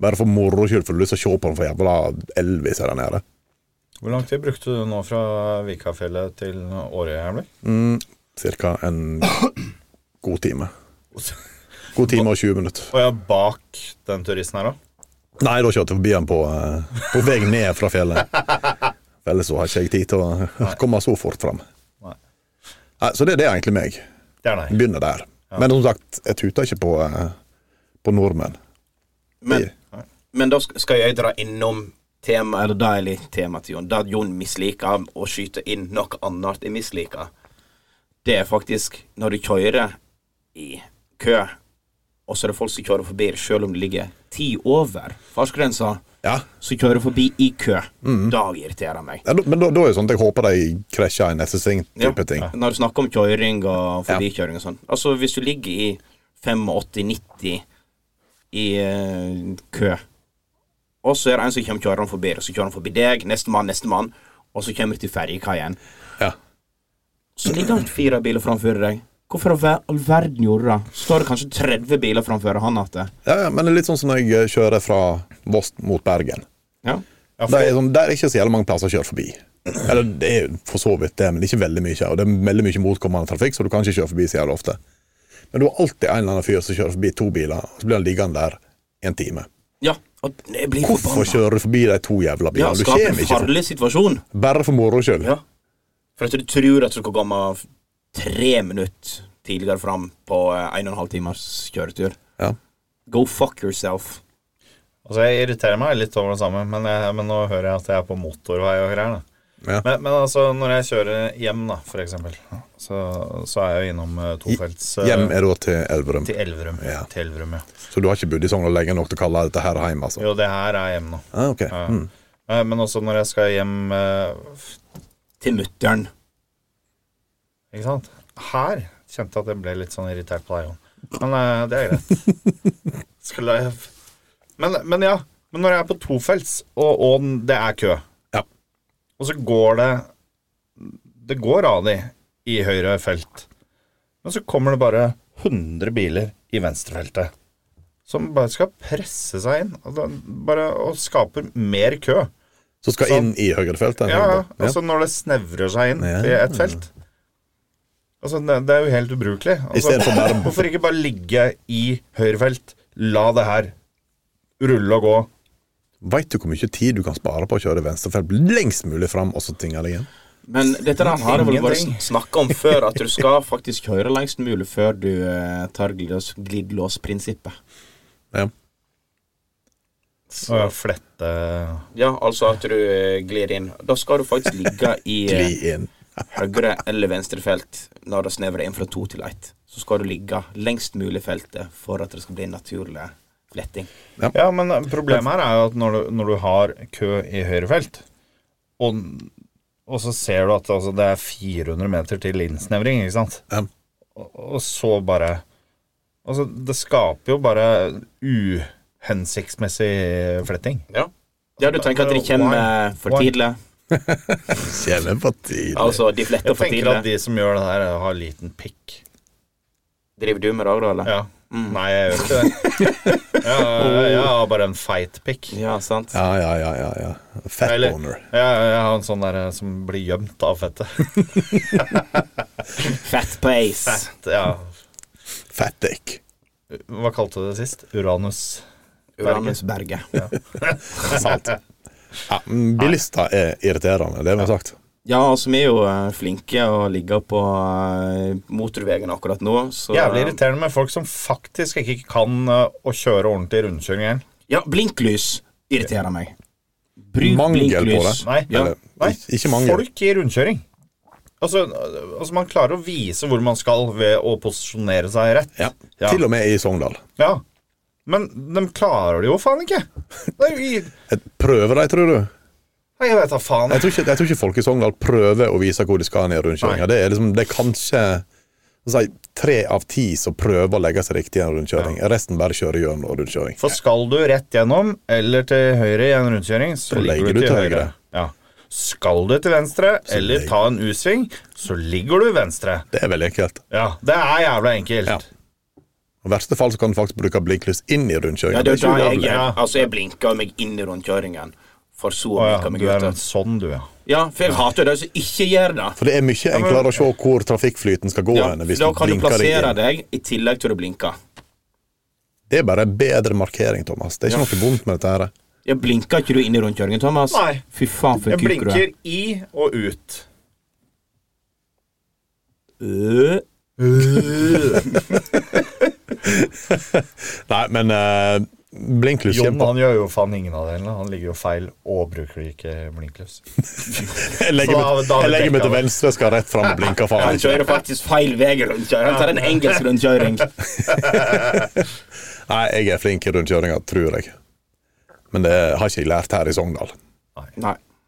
C: Bare for moro skyld, for du har lyst til å se på den for jævla Elvis her nede.
E: Hvor lang tid brukte du nå fra Vikafjellet til Årøya? Emil?
C: Cirka en god time. God time og 20 minutter.
E: Og jeg er bak den turisten her òg.
C: Nei, da kjørte jeg forbi den på, eh, på vei ned fra fjellet. For Ellers så har ikke jeg tid til å komme så fort fram.
E: Nei.
C: Nei, Så det, det er egentlig meg.
E: Det er deg.
C: Begynner der. Men som sagt, jeg tuter ikke på, eh, på nordmenn.
B: Men, men da sk- skal jeg dra innom tema, eller da er litt tema til Jon. Det Jon misliker å skyte inn noe annet jeg misliker, det er faktisk når du kjører i kø, og så er det folk som kjører forbi selv om det ligger ti over fartsgrensa,
C: Ja,
B: så kjører du forbi i kø. Da irriterer meg.
C: Ja, da- Men da, da er det sånn at jeg håper de krasjer i neste sving. type
B: Ja.
C: ting.
B: Når du snakker om kjøring og forbikjøring og sånn. Altså, hvis du ligger i 85-90 i eh, kø, og så er det en som kommer kjørende forbi, og så kjører han forbi deg, nestemann, nestemann, og så kommer du til ferjekaien.
C: Ja.
B: Så ligger han fire biler framfor deg. Hvorfor i ver- all verden gjorde du det? Står det kanskje 30 biler framfor han igjen?
C: Ja, ja, men det er litt sånn som når jeg eh, kjører fra Voss mot Bergen.
B: Ja.
E: Ja,
C: Det
E: for-
C: er, sånn, det er ikke så jævlig mange plasser å kjøre forbi. Eller det er jo for så vidt det, men ikke veldig mye. Og det er veldig mye motkommende trafikk, så du kan ikke kjøre forbi så jævlig ofte. Men du har alltid en eller annen fyr som kjører forbi to biler, og så blir han liggende der en time.
B: ja. Og jeg blir
C: Hvorfor
B: forbanna.
C: kjører du forbi de to jævla
B: Ja,
C: bilene? du
B: skaper
C: kommer
B: en
C: ikke forbi.
B: farlig situasjon.
C: Bare for moro skyld.
B: Ja. For at du tror at du skal komme tre minutter tidligere fram på eh, en og en halv timers kjøretur.
C: Ja.
B: Go fuck yourself.
E: Altså, jeg irriterer meg litt over det samme, men, jeg, men nå hører jeg at jeg er på motorvei og greier. da.
C: Ja.
E: Men, men altså, når jeg kjører hjem, da, for eksempel, så, så er jeg jo innom eh, tofelts eh,
C: Hjem er da til Elverum,
E: til Elverum.
C: Ja.
E: Til Elverum, ja.
C: så du har ikke bodd i Sogndal lenge nok til å kalle dette her hjem, altså?
E: Jo, det her er hjem nå.
C: Ah, ok.
E: Ja.
C: Mm.
E: Eh, Men også når jeg skal hjem eh, f-
B: Til mutter'n.
E: Ikke sant? Her kjente jeg at jeg ble litt sånn irritert på deg, Jon. Men eh, det er greit. Skulle jeg men, men ja. Men når jeg er på tofelts, og, og den- det er kø,
C: Ja.
E: og så går det Det går av de i høyre felt, men så kommer det bare 100 biler i venstrefeltet. som bare skal presse seg inn. Altså, bare og skaper mer kø.
C: Som skal inn i høyrefeltet?
E: Ja, ja. altså når det snevrer seg inn
C: Ja.
E: til et felt. Altså, det, det er jo helt ubrukelig. Altså,
C: stedet for bare-
E: hvorfor ikke bare ligge i høyrefelt, la det her rulle og gå?
C: Veit du hvor mye tid du kan spare på å kjøre venstrefelt lengst mulig fram, og så tinge deg igjen?
B: Men dette der har jeg vel bare
E: Ingenting.
B: sn- snakket om før, at du skal faktisk kjøre lengst mulig før du eh, tar glidelås- glidelåsprinsippet.
C: Ja.
E: Og flette
B: Ja, altså at du eh, glir inn. Da skal du faktisk ligge i
C: Gli
B: eh,
C: inn.
B: høyre eller venstre felt når det snevrer inn fra to til ett. Så skal du ligge lengst mulig i feltet for at det skal bli en naturlig fletting.
E: Ja, men eh, problemet her er jo at når du, når du har kø i høyrefelt, og, og så ser du at altså, det er 400 meter til innsnevring, ikke sant?
C: Ja.
E: Og, og så bare Altså, det skaper jo bare uhensiktsmessig fletting.
B: Ja. ja, du tenker at de kommer eh, for
E: Why?
B: tidlig.
C: Kjeve på tidlig.
B: Altså, de fletter
E: Jeg
B: for
E: tenker at
B: tidlig.
E: de som gjør det her, har liten pikk.
B: Driver du med det òg, da? eller?
E: Ja.
C: Mm.
E: Nei, jeg gjør ikke det. Ja, jeg, jeg har bare en feit pikk.
B: Ja, sant?
C: Ja, ja, ja. ja, ja. Fat
E: Eller,
C: boner.
E: jeg, jeg har en sånn der eh, som blir gjemt av fettet.
B: Fat pace.
E: Fett, ja.
C: Fat dick.
E: Hva kalte du det sist? Uranus.
B: Uranesberget.
C: Sant. Ja, men Mm, bilister er irriterende, det har vi sagt.
B: Ja, altså vi er jo eh, flinke å ligge på eh, motorveien akkurat nå, så
E: Jævlig irriterende med folk som faktisk ikke kan eh, å kjøre ordentlig rundkjøring.
B: Ja, blinklys irriterer meg. Bruk
C: Mangel på
B: blinklys.
C: det.
E: Nei.
B: Ja.
C: Eller,
E: Nei,
C: ik- ikke mange.
E: Folk i rundkjøring. Altså, eh, altså, man klarer å vise hvor man skal ved å posisjonere seg rett.
C: Ja.
E: Ja.
C: Til og med i Sogndal.
E: Ja. Men de klarer det jo faen ikke. Det er jo i...
C: Et- Prøver de, tror du?
E: Nei, Jeg vet da faen.
C: Jeg tror ikke, jeg tror ikke folk i Sogndal prøver å vise hvor de skal ned i rundkjøringa.
E: Nei.
C: Det er liksom, det er kanskje si, tre av ti som prøver å legge seg riktig i en rundkjøring. Resten bare kjører gjennom rundkjøring.
E: For skal du rett gjennom eller til høyre i en rundkjøring, så
C: Så
E: ligger du til høyre. Ja. Skal du til venstre eller
C: ligger-
E: ta en U-sving, så ligger du venstre.
C: Det er veldig enkelt.
E: Ja, det er jævla enkelt.
C: Ja. I verste fall så kan du faktisk bruke blinklys inn i
B: Ja,
C: rundkjøringa.
B: det er jo
C: ikke
B: da jeg
C: ulovlig.
B: gjør. Altså, jeg blinker meg inn i rundkjøringen, for så å
E: Å ja,
B: blinke meg
E: du er
B: ut.
E: en sånn, du, ja.
B: Ja, for jeg hater jo de som ikke gjør det.
C: For det er mye enklere å se hvor trafikkflyten skal gå
B: Ja,
C: enn
B: for
C: hvis
B: da
C: du
B: kan du
C: blinker deg
B: plassere
C: inn.
B: deg i tillegg til å blinke.
C: Det er bare bedre markering, Thomas. Det er ikke noe vondt med dette her.
B: Jeg blinker ikke du inn i rundkjøringen, Thomas?
E: Nei.
B: Fy faen, for
E: Jeg
B: en kuk du er.
E: blinker i og ut.
B: Øh.
C: Nei, men uh, blinklys
E: Jon
C: kjemper.
E: han gjør jo faen ingen av delene. Han ligger jo feil og bruker ikke blinklys.
C: Jeg legger
E: Så
C: meg,
E: da- da har vi
C: jeg legger meg
E: blinket,
C: til venstre, skal rett fram og blinke, faen
B: Han
C: ikke.
B: kjører faktisk feil vei i rundkjøringen. Han tar en engelsk rundkjøring.
C: Nei, jeg er flink i rundkjøringa, tror jeg. Men det har ikke jeg lært her i Sogndal.
B: Nei.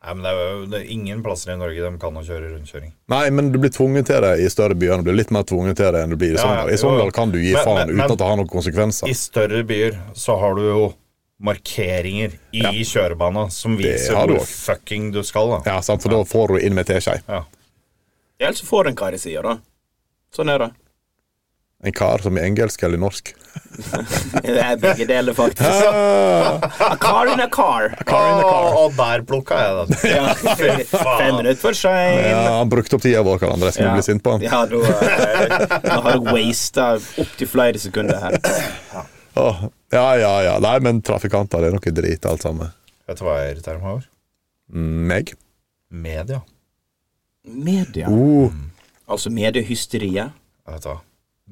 E: Nei, men det er jo det er ingen plasser i Norge de kan å kjøre rundkjøring.
C: Nei, men du blir tvunget til det i større byer. Du blir litt mer tvunget til det enn du blir i
E: Ja, ja,
C: Sogndal.
E: jo,
C: I Sogndal kan du gi
E: men-
C: faen
E: men-
C: uten at det har noen
E: I
C: konsekvenser.
E: større byer så har du jo markeringer i kjørebana som viser
C: har du
E: hvor
C: også.
E: fucking du skal, da.
C: Ja, sant, for da får du inn med teskje.
E: Ja.
B: Ellers så får du en kar i sida, da. Sånn er det.
C: En kar som er engelsk eller norsk.
B: Det er begge deler, faktisk.
C: Ah,
B: A car in a car.
E: Å, og der plukka jeg den.
B: Ja. Fem minutter for sein.
C: ja, han brukte opp tida vår, Karl André. Skulle bli sint på han.
B: Ja, da, eh, da har jeg wasta opptil flere sekunder her.
C: Åh, Ja, ja, ja. Nei, men trafikanter, det er noe drit, alt sammen.
E: Vet du hva jeg irriterer meg over?
C: Meg?
E: Media.
B: Media.
C: Uh,
B: Altså mediehysteriet.
E: Jeg vet hva.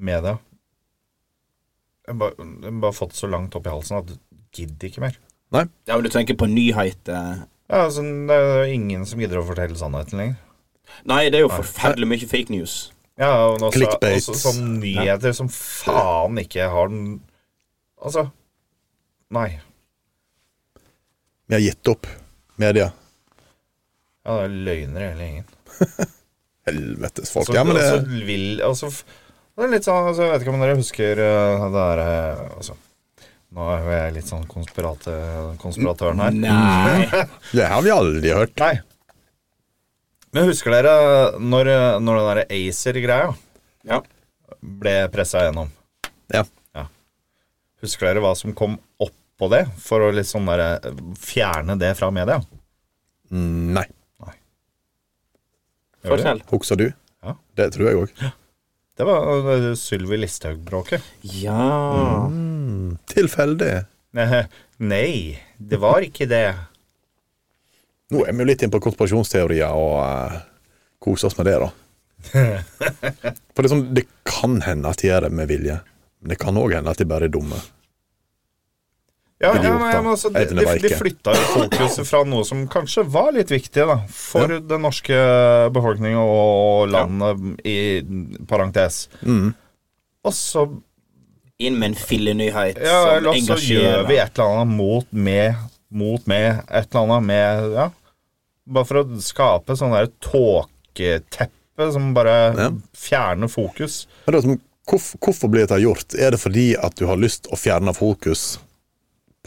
E: Media. Jeg har bare, jeg bare fått så langt opp i halsen at du gidder ikke mer.
C: nei.
B: Ja, men du tenker på nyheter.
E: Ja, altså, det er jo ingen som gidder å fortelle sannheten lenger.
B: Nei, det er jo forferdelig mye fake news.
E: Ja, og også,
C: Clickbait.
E: også sånn nyheter som faen ikke har den Altså, nei.
C: Vi har gitt opp media.
E: Ja, det er løgner i hele gjengen.
C: Helvetes folk.
E: Så,
C: Ja, men det,
E: altså, vil, altså, f- det er litt sånn altså, Jeg vet ikke om dere husker eh, det der eh, altså, Nå er jo jeg litt sånn konspirate, konspiratøren her.
B: Nei.
C: det har vi aldri hørt.
E: Nei. Men husker dere når, eh, når den der Acer-greia
B: Ja.
E: ble pressa gjennom?
C: Ja.
E: Husker dere hva som kom oppå det, for å litt sånn der, eh, fjerne det fra media?
C: Nei.
E: Gjør det?
B: Fortell.
C: Husker du?
E: Ja.
C: Det tror jeg òg.
E: Det var eh, Sylvi Listhaug-bråket.
B: Ja
C: Tilfeldig.
E: Eh, Nei, det var ikke det.
C: Nå er vi jo litt inne på konspirasjonsteorier og uh, koser oss med det, da. For det, er sånn, det kan hende at de gjør det med vilje, men det kan òg hende at de bare er dumme.
E: Ja, ja,
C: Idioter.
E: men, men altså,
C: Jeg
E: de,
C: vet
E: de,
C: det bare
E: de
C: ikke.
E: flytta jo fokuset fra noe som kanskje var litt viktig da, for den norske befolkningen og landet, i parentes.
B: Mm.
E: Og så,
B: Inn med en fillenyhet
E: ja,
B: som
E: eller så gjør
B: engasjerer.
E: vi et eller annet mot med, mot med, et eller annet med ja. Bare for å skape sånn der tåketeppe som bare
C: Ja.
E: fjerner fokus.
C: Men det er som, hvorf, hvorfor blir dette gjort? Er det fordi at du har lyst å fjerne fokus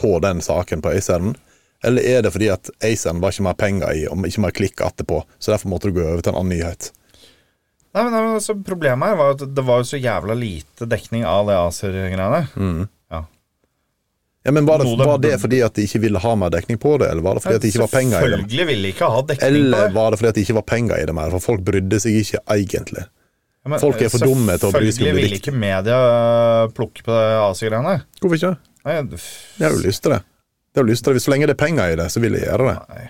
C: på den saken på Aceren? Eller er det fordi at Aceren var ikke mer penger i, og ikke mer klikk etterpå, så derfor måtte du gå over til en annen nyhet?
E: Nei, men, nei, men altså, Problemet her var at det var jo så jævla lite dekning av det ACER-greiene.
B: Mm.
E: Ja.
C: Ja, men var det,
E: Noe de
C: var det
E: burde-
C: fordi at de ikke ville ha mer dekning på det, eller var det fordi at det ikke var penger i det?
E: Selvfølgelig vil de ikke ha dekning
C: Eller
E: på det.
C: var det fordi at det ikke var penger i det mer, for folk brydde seg ikke egentlig?
E: Ja, men
C: folk er for dumme til å bry seg om det
E: Selvfølgelig vil
C: viktige.
E: ikke media øh, plukke på det AC-greiene.
C: Hvorfor ikke?
E: Nei, f-
C: Jeg har jo lyst til det. Jeg har lyst til det. Så lenge det er penger i det, så vil jeg gjøre det.
E: nei.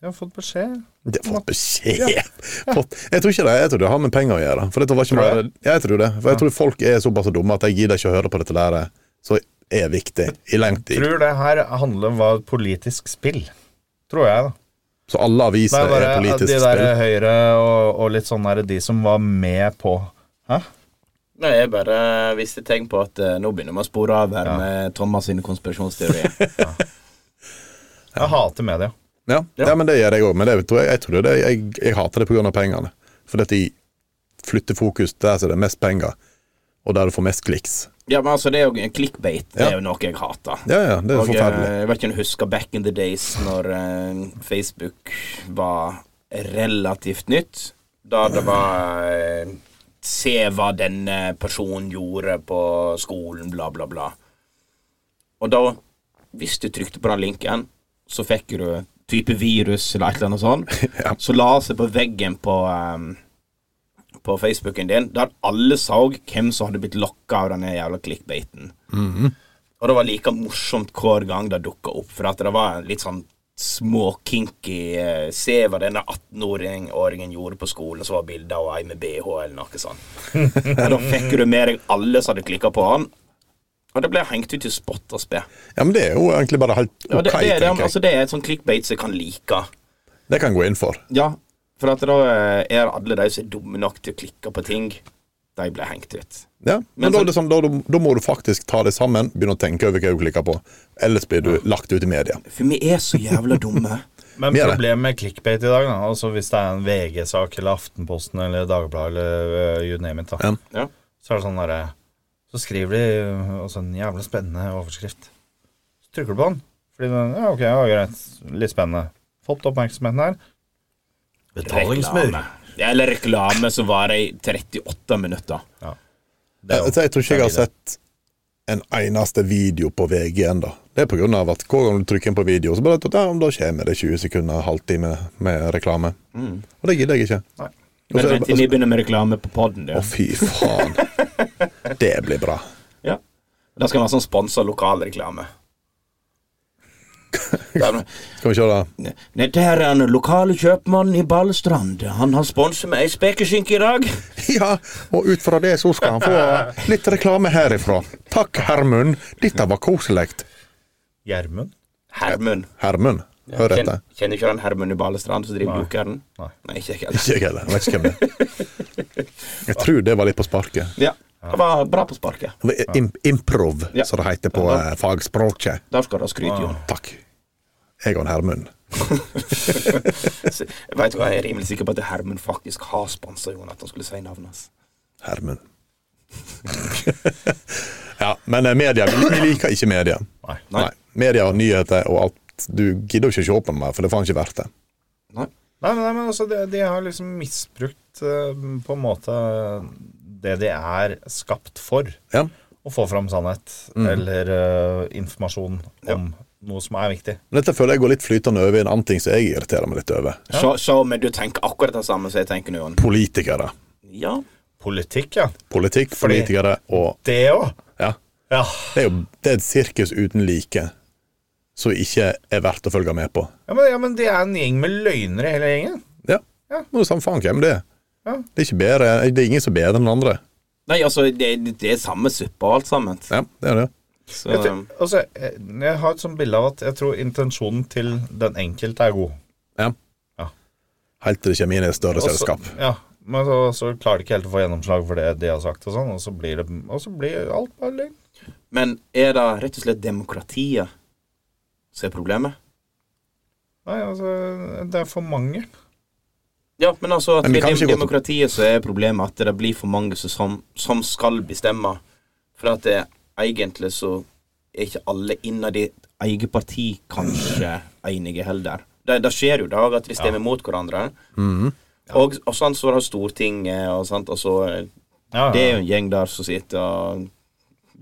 E: De har fått beskjed.
C: Det har fått beskjed! Fått. Jeg tror ikke det jeg tror det har med penger å gjøre. For dette var ikke bare, ja, jeg tror det. For jeg tror folk er såpass dumme at jeg gidder ikke å høre på dette der som er viktig i lengre tid.
E: Tror det her handler om hva et politisk spill. Tror jeg, da.
C: Så alle
E: Det
C: aviser
E: er
C: er
E: bare
C: politisk
E: de der
B: eh,
C: spill.
E: Høyre og, og litt sånn der, de som var med på Hæ?
B: Nei, jeg bare viste tegn på at eh, nå begynner vi å spore av her med Thomas sine konspirasjonsteorier.
E: Jeg hater media.
C: Ja.
B: Ja.
C: ja, men det gjør jeg òg. Men det tror jeg, jeg, tror det, jeg, jeg hater det pga. pengene. Fordi at de flytter fokus der som det er mest penger, og der du får mest kliks.
B: ja, men altså, det er jo en clickbait. Det
C: Ja.
B: er jo noe jeg hater.
C: Ja, ja, det er
B: Og eh,
C: forferdelig.
B: jeg vet ikke om du husker back in the days når eh, Facebook var relativt nytt. Da det var eh, Se hva denne personen gjorde på skolen, bla, bla, bla. Og da, hvis du trykte på den linken, så fikk du type virus eller et eller annet sånt.
C: Ja.
B: Så la seg på veggen på eh, på Facebooken din, der alle så hvem som hadde blitt lokka av denne jævla clickbaiten. Og det var like morsomt hver gang det dukka opp, for at det var en litt sånn småkinky eh, Se hva denne 18-åringen gjorde på skolen, så var bildet av ei med bh eller noe sånt. Og da fikk du med deg alle som hadde klikka på han, og det ble hengt ut i spott og spe.
C: Ja, men det er jo egentlig bare helt ok,
B: Ja, det, det, er det,
C: tenker jeg.
B: altså, det er et sånt clickbait som jeg kan like.
C: Det kan jeg gå inn for.
B: Ja, for at da eh, er alle de som er dumme nok til å klikke på ting, de ble hengt ut.
C: Ja.
B: Men
C: Men, da,
B: så-
C: er det sånn, da, da må du faktisk ta det sammen, begynne å tenke over hva du klikker på. Ellers blir du lagt ut i media.
B: For vi er så jævla dumme.
E: Men
C: Vi er det.
E: problemet med clickbait i dag, da, altså hvis det er en VG-sak eller Aftenposten eller Dagbladet eller øh, you name it, da.
C: Ja.
B: Ja.
E: Så er det sånn derre Så skriver de øh, også en jævla spennende overskrift. Så trykker du på den. Fordi den Ja, ok, ja, greit. Litt spennende. Fått oppmerksomheten her.
B: Reklame. Eller reklame som varer i 38 minutter.
E: Det er jo-
C: Jeg, jeg tror ikke jeg har
E: det er
C: sett en eneste video på VG ennå. Det er pga. at hver gang du trykker inn på video, så bare ja, da kommer det 20 sekunder, halvtime med reklame. Og det gidder jeg ikke.
E: Nei.
C: Og så
B: Men
C: er det
B: vent til
C: bare-
B: vi begynner med reklame på poden.
C: Å, fy faen. Det blir bra.
B: Ja. Det skal være sånn sponsa lokalreklame. Der-
C: Skal vi se, da.
B: Nei, det her er en lokale kjøpmann i Balestrand. Han har sponset med ei spekeskinke i dag.
C: Ja, og ut fra det så skal han få litt reklame herifra. Takk, Hermund. Dette var koselig.
E: Gjermund?
B: Hermund.
C: Hermund, hør
B: Kjenner,
C: etter.
B: kjenner ikke du den Hermund i Balestrand som driver Jokeren?
E: Nei.
B: Nei, ikke jeg heller.
C: Ikke jeg heller. jeg Vet ikke hvem det er. Jeg tror det var litt på sparket.
B: Ja. Det var bra på sparket.
C: Det var Im improv,
B: Ja.
C: som det heter på eh, fagspråket.
B: Der skal du ha skryt, Jon.
C: Takk. Jeg og en Hermund.
B: Så- Jeg vet hva, jeg er rimelig sikker på at Hermund faktisk har sponsa Jon, at han skulle si navnet hans.
C: Hermund. ja, men eh, media Vi vi liker ikke media.
E: Nei.
C: Nei. Media og nyheter og alt. Du gidder jo ikke se på meg, for det er faen ikke verdt det.
B: Nei.
E: Nei, men, nei, men altså, de, de har liksom øh, misbrukt eh, på en måte det de er skapt for.
C: Ja.
E: å få fram sannhet eller eh, informasjon om noe som er viktig.
C: Men Dette føler jeg går litt flytende over i en annen ting som jeg irriterer meg litt over.
B: Se, se, men du tenker akkurat det samme som jeg tenker nå, Jon.
C: Politikere.
B: Ja.
E: Politikk, ja.
C: Politikk,
E: Fordi-
C: politikere og
E: Det òg.
C: Ja.
E: Ja.
C: Det er jo det er et sirkus uten like som ikke er verdt å følge med på.
E: Ja, men, ja, men det er en gjeng med løgnere, hele gjengen.
C: Ja.
E: Ja.
C: Nå er det samme faen hvem det er.
E: Ja.
C: Det er, ikke bedre, det er ingen som er bedre enn andre.
B: Nei, altså, det, det er samme suppe og alt sammen.
C: Ja, det er det.
B: Så,
E: Jeg, tror- altså, jeg, jeg har et sånt bilde av at jeg tror intensjonen til den enkelte er god.
C: Ja.
E: Ja.
C: Helt til det kommer inn i et større
E: Og så-
C: selskap.
E: Ja, men så, så klarer de ikke helt å få gjennomslag for det de har sagt, og sånn, og så blir, det, og så blir alt bare løgn.
B: men er det rett og slett demokratiet som er problemet?
E: Nei, altså, det er for mange.
B: Ja, men altså at
C: Men vi
B: det
C: kan ikke
B: er
C: gå til-
B: demokratiet som er problemet, at det blir for mange som- som, som skal bestemme. For at det, egentlig så er ikke alle innad i et eget parti kanskje enige heller. Det, det skjer jo i dag at de stemmer mot hverandre.
C: Mhm.
B: Og, og sånn så har Stortinget og sånt, og så eh,
E: Ja,
B: Det er jo en gjeng der som sitter og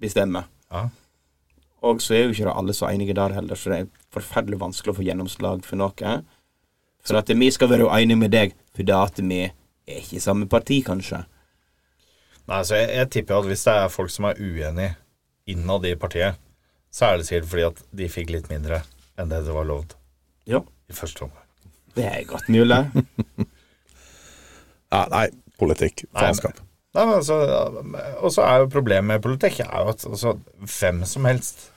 B: bestemmer.
E: Ja.
B: Og så er jo ikke det alle så enige der heller, så det er forferdelig vanskelig å få gjennomslag for noe. For at vi skal være enige med deg, fordi at vi er ikke i samme parti, kanskje.
E: Nei, så jeg, jeg tipper jo at hvis det er folk som er uenige innad i partiet, så er det sikkert fordi at de fikk litt mindre enn det det var lovd
B: Ja,
E: i første omgang.
B: det er godt mulig.
C: Ja, nei, politikk.
E: Nei,
C: Faenskap.
E: Nei, men altså, og så er jo problemet med politikk er jo at altså, hvem som helst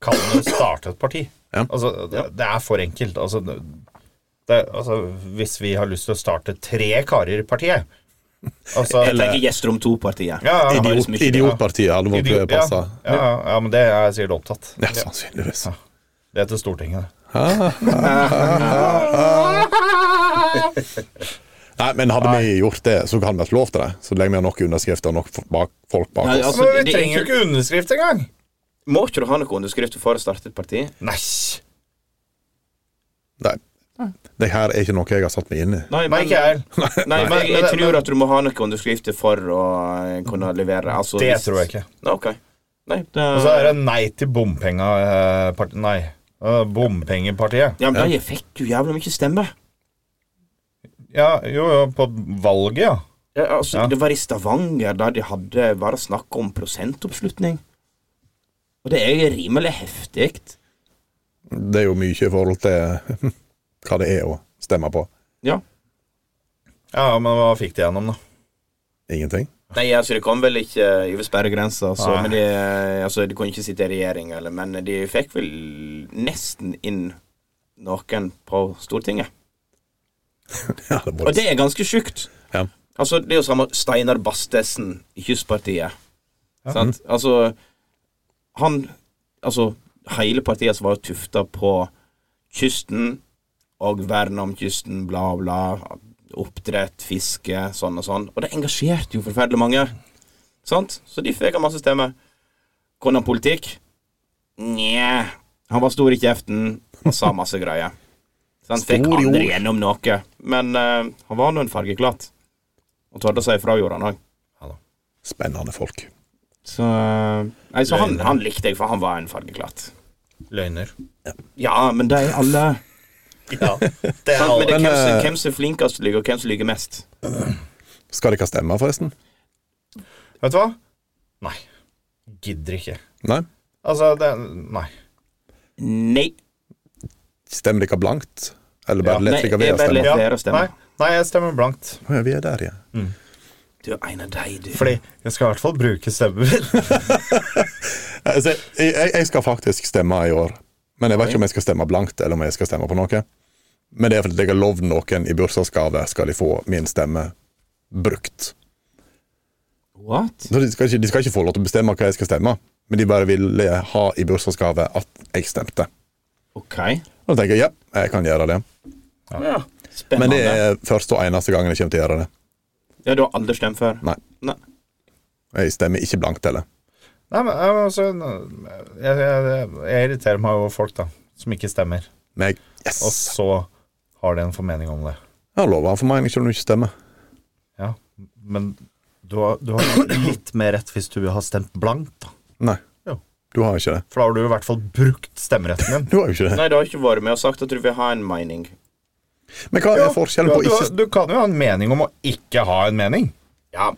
E: kan jo starte et parti.
C: Ja.
E: Altså, det, det er for enkelt. Altså, det, altså, hvis vi har lyst til å starte tre karer i partiet altså,
B: Jeg tenker Gjesterom 2-partiet.
E: Ja, ja.
B: Det var liksom
C: Idiot,
B: ikke det.
C: idiotpartiet hadde
E: Idiot-
C: vært
E: ja,
C: passa.
E: ja, ja, ja, men det er sikkert opptatt.
C: Ja, sannsynligvis.
E: Det heter Stortinget. det.
C: Nei, men hadde vi gjort det, så hadde vi hatt lov til det. Så lenge vi har nok underskrifter og nok f- bak, folk bak
B: Nei,
C: oss.
B: altså,
E: men
B: det
E: vi
B: er
E: trenger jo ikke underskrift engang!
B: Må ikke du ha noen underskrifter for å starte et parti?
E: Nei.
C: Nei. Det her er ikke noe jeg har satt meg inn i.
E: Nei, ikke jeg heller.
B: Nei,
E: Nei,
B: jeg, jeg
E: men-
B: tror at du må ha noen underskrifter for å eh, kunne levere. Altså,
E: Det
B: hvis-
E: tror jeg ikke.
B: Nei, Ok. Nei, det,
E: Og så er det nei til bompengepartiet Nei, eh, bompengepartiet.
B: Ja, men de fikk jo jævla mye stemmer.
E: Ja, jo, jo, på valget, ja.
B: Ja, altså,
E: Ja.
B: Det var i Stavanger, der de hadde bare snakk om prosentoppslutning. Og det er jo rimelig heftig.
C: Det er jo mye i forhold til hva det er å stemme på.
B: Ja.
E: Ja, men hva fikk de gjennom, da?
C: Ingenting.
B: Nei, altså, det kom vel ikke eh, over sperregrensa, så,
E: Nei.
B: men de, altså, de kunne ikke sitte i regjering, eller, men de fikk vel nesten inn noen på Stortinget.
C: Ja, det
B: Og
C: var
B: det er ganske sjukt.
C: Ja.
B: Altså, det er jo samme Steinar Bastesen i Kystpartiet. Sant?
C: Mm.
B: Altså, han Altså, hele partiet som var tufta på kysten og verne om kysten, bla, bla. Oppdrett, fiske, sånn og sånn. Og det engasjerte jo forferdelig mange. Sant? Så de fikk masse stemmer. Kunne han politikk? Nja. Han var stor i kjeften og sa masse greier. Så han fikk
C: Stor i
B: aldri
C: ord.
B: gjennom noe. Men eh, han var nå en fargeklatt. Og torde å si ifra, gjorde han òg.
C: spennende folk.
B: Så, nei, så han, han likte jeg, for han var en fargeklatt.
E: Løgner.
B: Ja, men de alle
E: Ja, det er
B: sant? Men det er
C: Men,
B: hvem som-
C: eh,
B: hvem som er flinkest til å lyve, og hvem som lyver mest.
C: Skal dere stemme, forresten? eh,
E: Vet du hva? Nei. Gidder ikke.
C: Nei?
E: Altså, det Nei.
B: Nei.
C: Stemmer dere blankt? Eller bare
E: Ja,
C: lett
B: nei,
C: dere
B: jeg
C: ved å
B: bare
C: stemme?
B: lett. Mm. Flere stemmer.
E: Nei, nei, jeg stemmer blankt.
C: Å ja, vi er der, ja.
B: Du er en av de, du.
E: Fordi jeg skal i hvert fall bruke stemmen min.
C: Altså, jeg, jeg- jeg skal faktisk stemme i år. Men jeg vet ikke om jeg skal stemme blankt, eller om jeg skal stemme på noe. Men det er fordi jeg har lovd noen i bursdagsgave skal de få min stemme brukt.
B: What?
C: Så de skal, ikke, de skal ikke få lov til å bestemme hva jeg skal stemme, men de bare ville ha i bursdagsgave at jeg stemte.
B: Ok.
C: Og da tenker jeg ja, jeg kan gjøre det.
B: Ja.
C: Men
B: Spennende.
C: det er første og eneste gangen jeg kommer til å gjøre det.
B: Ja, du har aldri stemt før?
C: Nei.
B: Nei.
C: Jeg stemmer ikke blankt heller.
E: Nei, men jeg, altså, jeg, jeg, jeg irriterer meg over folk, da, som ikke stemmer.
C: Men jeg,
E: Og
C: yes!
E: så har de en formening om det.
C: Jeg har lova for meg selv om du ikke stemmer.
E: Ja, men du har, du har litt mer rett hvis du har stemt blankt, da.
C: Nei.
E: Jo.
C: Du har ikke det.
E: For da har du i hvert fall brukt stemmeretten din.
C: Du har jo ikke det.
B: Nei, du har ikke vært med og sagt at du vil ha en mening.
C: Men hva er
E: Du,
C: forskjellen på ikke
E: du kan jo ha en mening om å ikke ha en mening.
B: Ja,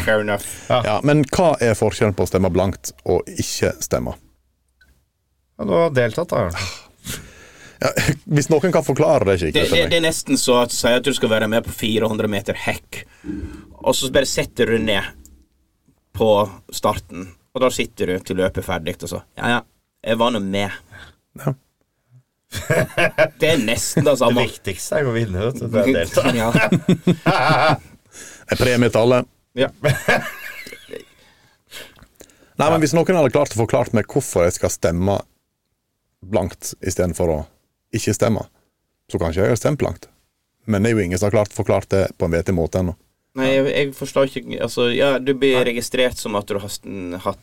B: fair enough.
C: ja, Men hva er forskjellen på å stemme blankt og ikke stemme?
E: Ja, Du har deltatt, da.
C: Ja, hvis noen kan forklare det
B: Det,
C: skikkelig
B: det,
C: for
B: det
C: meg.
B: er nesten så at du sier at du skal være med på 400 meter hekk, og så bare setter du ned på starten, og da sitter du til løpet er ferdig, og så Ja, ja, jeg var nå med.
C: Ja.
B: Det er nesten det
E: Det
B: samme.
E: viktigste er jo å vinne, vet du. Det er å delta.
B: Ja.
C: En premie til alle.
B: Ja.
C: Nei, men Hvis noen hadde klart å forklart meg hvorfor jeg skal stemme blankt istedenfor å ikke stemme, så kanskje jeg har stemt blankt. Men det er jo ingen som har klart forklart det på en vettig måte ennå.
B: Nei, jeg, jeg forstår ikke Altså, ja, du blir registrert som at du har st- hatt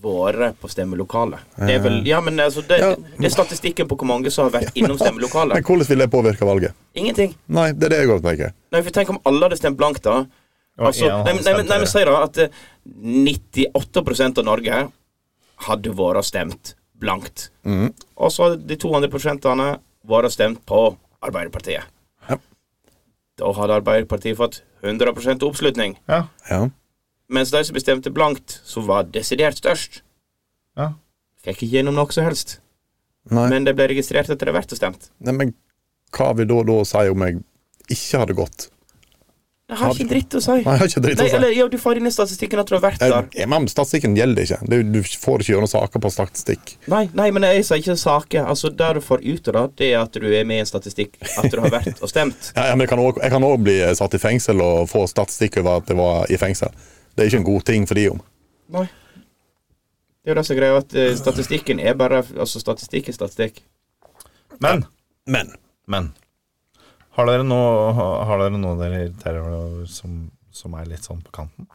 B: vært på stemmelokalet. Det er vel Ja, men altså, det,
C: Ja.
B: det er statistikken på hvor mange som har vært innom
C: Men
B: stemmelokalet.
C: hvordan vil det påvirke valget?
B: Ingenting.
C: Nei, det er det jeg går og tenker.
B: Nei, for tenk om alle hadde stemt blankt, da. Altså,
E: en hadde
B: nei, men- nei, men- nei, men
E: stemt
B: si da at eh, 98 av Norge hadde vært og stemt blankt.
C: Mm.
B: Og så hadde de 200 vært og stemt på Arbeiderpartiet.
C: Ja.
B: Da hadde Arbeiderpartiet fått 100 oppslutning.
E: Ja,
C: Ja.
B: Mens de som bestemte blankt, som var desidert størst,
E: ja.
B: fikk ikke gjennom noe som helst.
C: Nei. Men,
B: Men de ble registrert etter det vært og stemt.
C: Nei, men hva vil da, da si om jeg ikke hadde gått?
B: Det har ikke dritt å si.
C: Nei, jeg har ikke dritt
B: Nei,
C: å si.
B: eller, ja, du får inn i statistikken at du har vært
C: Eh,
B: der.
C: ja, Men statistikken gjelder ikke. Det, er jo- du får ikke gjennom saker på statistikk.
B: Nei, nei, men jeg sier ikke saker. Altså, Det du får ut av det, det er at du er med i en statistikk. At du har vært og stemt.
C: Ja, ja, men jeg kan også- jeg kan òg bli eh, satt i fengsel og få statistikk over at jeg var i fengsel. Det er ikke en god ting for de om.
B: Nei. Det er jo det som er greia, at eh, statistikken er bare Altså, statistikk er statistikk.
E: Men,
C: Men
E: men Har dere noe, har dere, noe dere irriterer dere over som, som er litt sånn på kanten?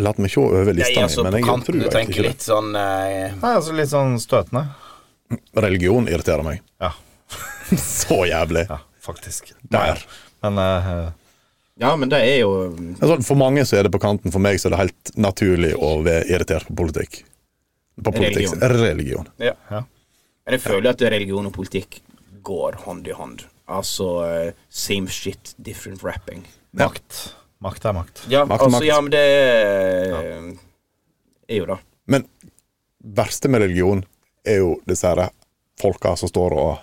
C: La meg se over lista
D: Jeg er
C: mi,
D: altså
C: men
D: på
C: jeg
D: kanten.
C: tror
D: Du
C: egentlig
D: tenker
C: ikke
D: litt sånn eh,
E: Nei, altså Litt sånn støtende.
C: det. Religion irriterer meg.
E: Ja,
C: Så jævlig.
E: ja faktisk.
C: Der.
E: Men eh,
B: Ja, men det er jo mm,
C: Altså, for mange så er det på kanten, for meg så er det helt naturlig å være irritert på politikk. På politikk.
B: Religion.
C: Religion.
B: Ja.
E: Ja.
B: Men jeg føler at religion og politikk går hånd i hånd. Altså eh, same shit, different wrapping.
E: makt. Makt er makt.
B: Ja,
C: Makt og
B: altså,
C: makt.
B: ja, men det er,
D: eh,
B: er jo det.
C: Men verste med religion er jo disse her folka som står og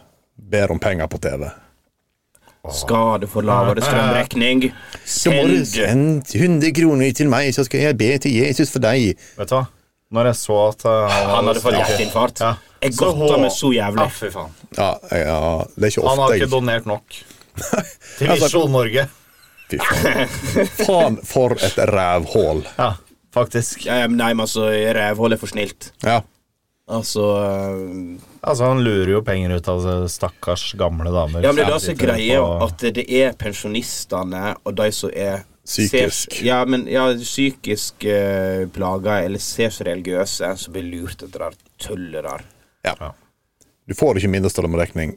C: ber om penger på TV.
B: Skade for lavere strømregning.
C: Så må du
B: Send
C: sende 100 kroner til meg, så skal jeg be til Jesus for deg.
E: Vet du hva? Når jeg så at eh,
B: Han hadde fått hjerteinfarkt.
E: Ja.
B: Jeg
E: Så
B: godta
E: hå-
B: meg så
E: Ja,
B: jævlig.
E: fy faen.
C: Ja, ja, det er ikke
E: Han har
C: ofte
E: ikke
C: jeg
E: donert nok til
C: Altså-
E: Visjon Norge.
C: Fy faen. faen, for et rævhål.
E: Ja, faktisk.
B: Ja, ja, men nei, men altså, rævhold er for snilt.
C: Ja.
B: Altså eh,
E: Altså, han lurer jo penger ut av altså, stakkars gamle damer.
B: Ja, men det er det som er
E: Sitter
B: greia,
E: på-
B: at det er pensjonistene og de som er
C: Psykisk.
B: ser- ja, men ja, psykisk eh, plaga eller ser så religiøse, som blir lurt etter det der tullet der.
C: Du får ikke mindre strømregning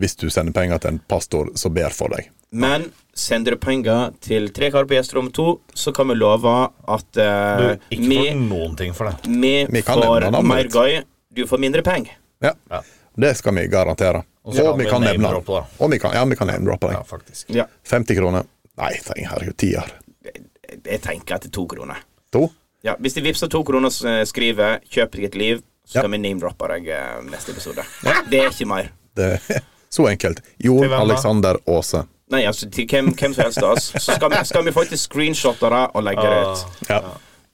C: hvis du sender penger til en pastor som ber for deg.
B: Men sender du penger til Tre kar på Gjesterom 2, så kan vi love at
E: Du,
B: eh,
E: ikke
B: vi,
E: for noen ting for det.
B: vi
C: Vi kan
B: får
C: nevne navnet
B: mer
C: ditt.
B: gøy, du får mindre penger.
C: Ja.
E: Ja.
C: Det skal vi garantere.
E: så
C: Og
E: kan
C: vi
E: vi
C: kan nevne
E: name-droppe,
C: den.
E: da.
C: Og vi kan, ja, vi kan name-droppe
E: Ja,
C: den.
E: faktisk.
B: Ja.
C: 50 kroner. Nei, tenk, herregud, tier.
B: Jeg, jeg tenker at det er to kroner.
C: To?
B: Ja, Hvis de vippser to kroner og eh, skriver 'kjøp deg et liv', så
C: Ja.
B: skal vi name-droppe deg eh, neste episode. Det er ikke mer.
C: Det, så enkelt. Jon
E: Til hvem da?
C: Alexander Aase.
B: Nei, altså til hvem, hvem som helst av oss. Så skal vi, skal vi faktisk screenshotte det og legge det ut.
C: Ja.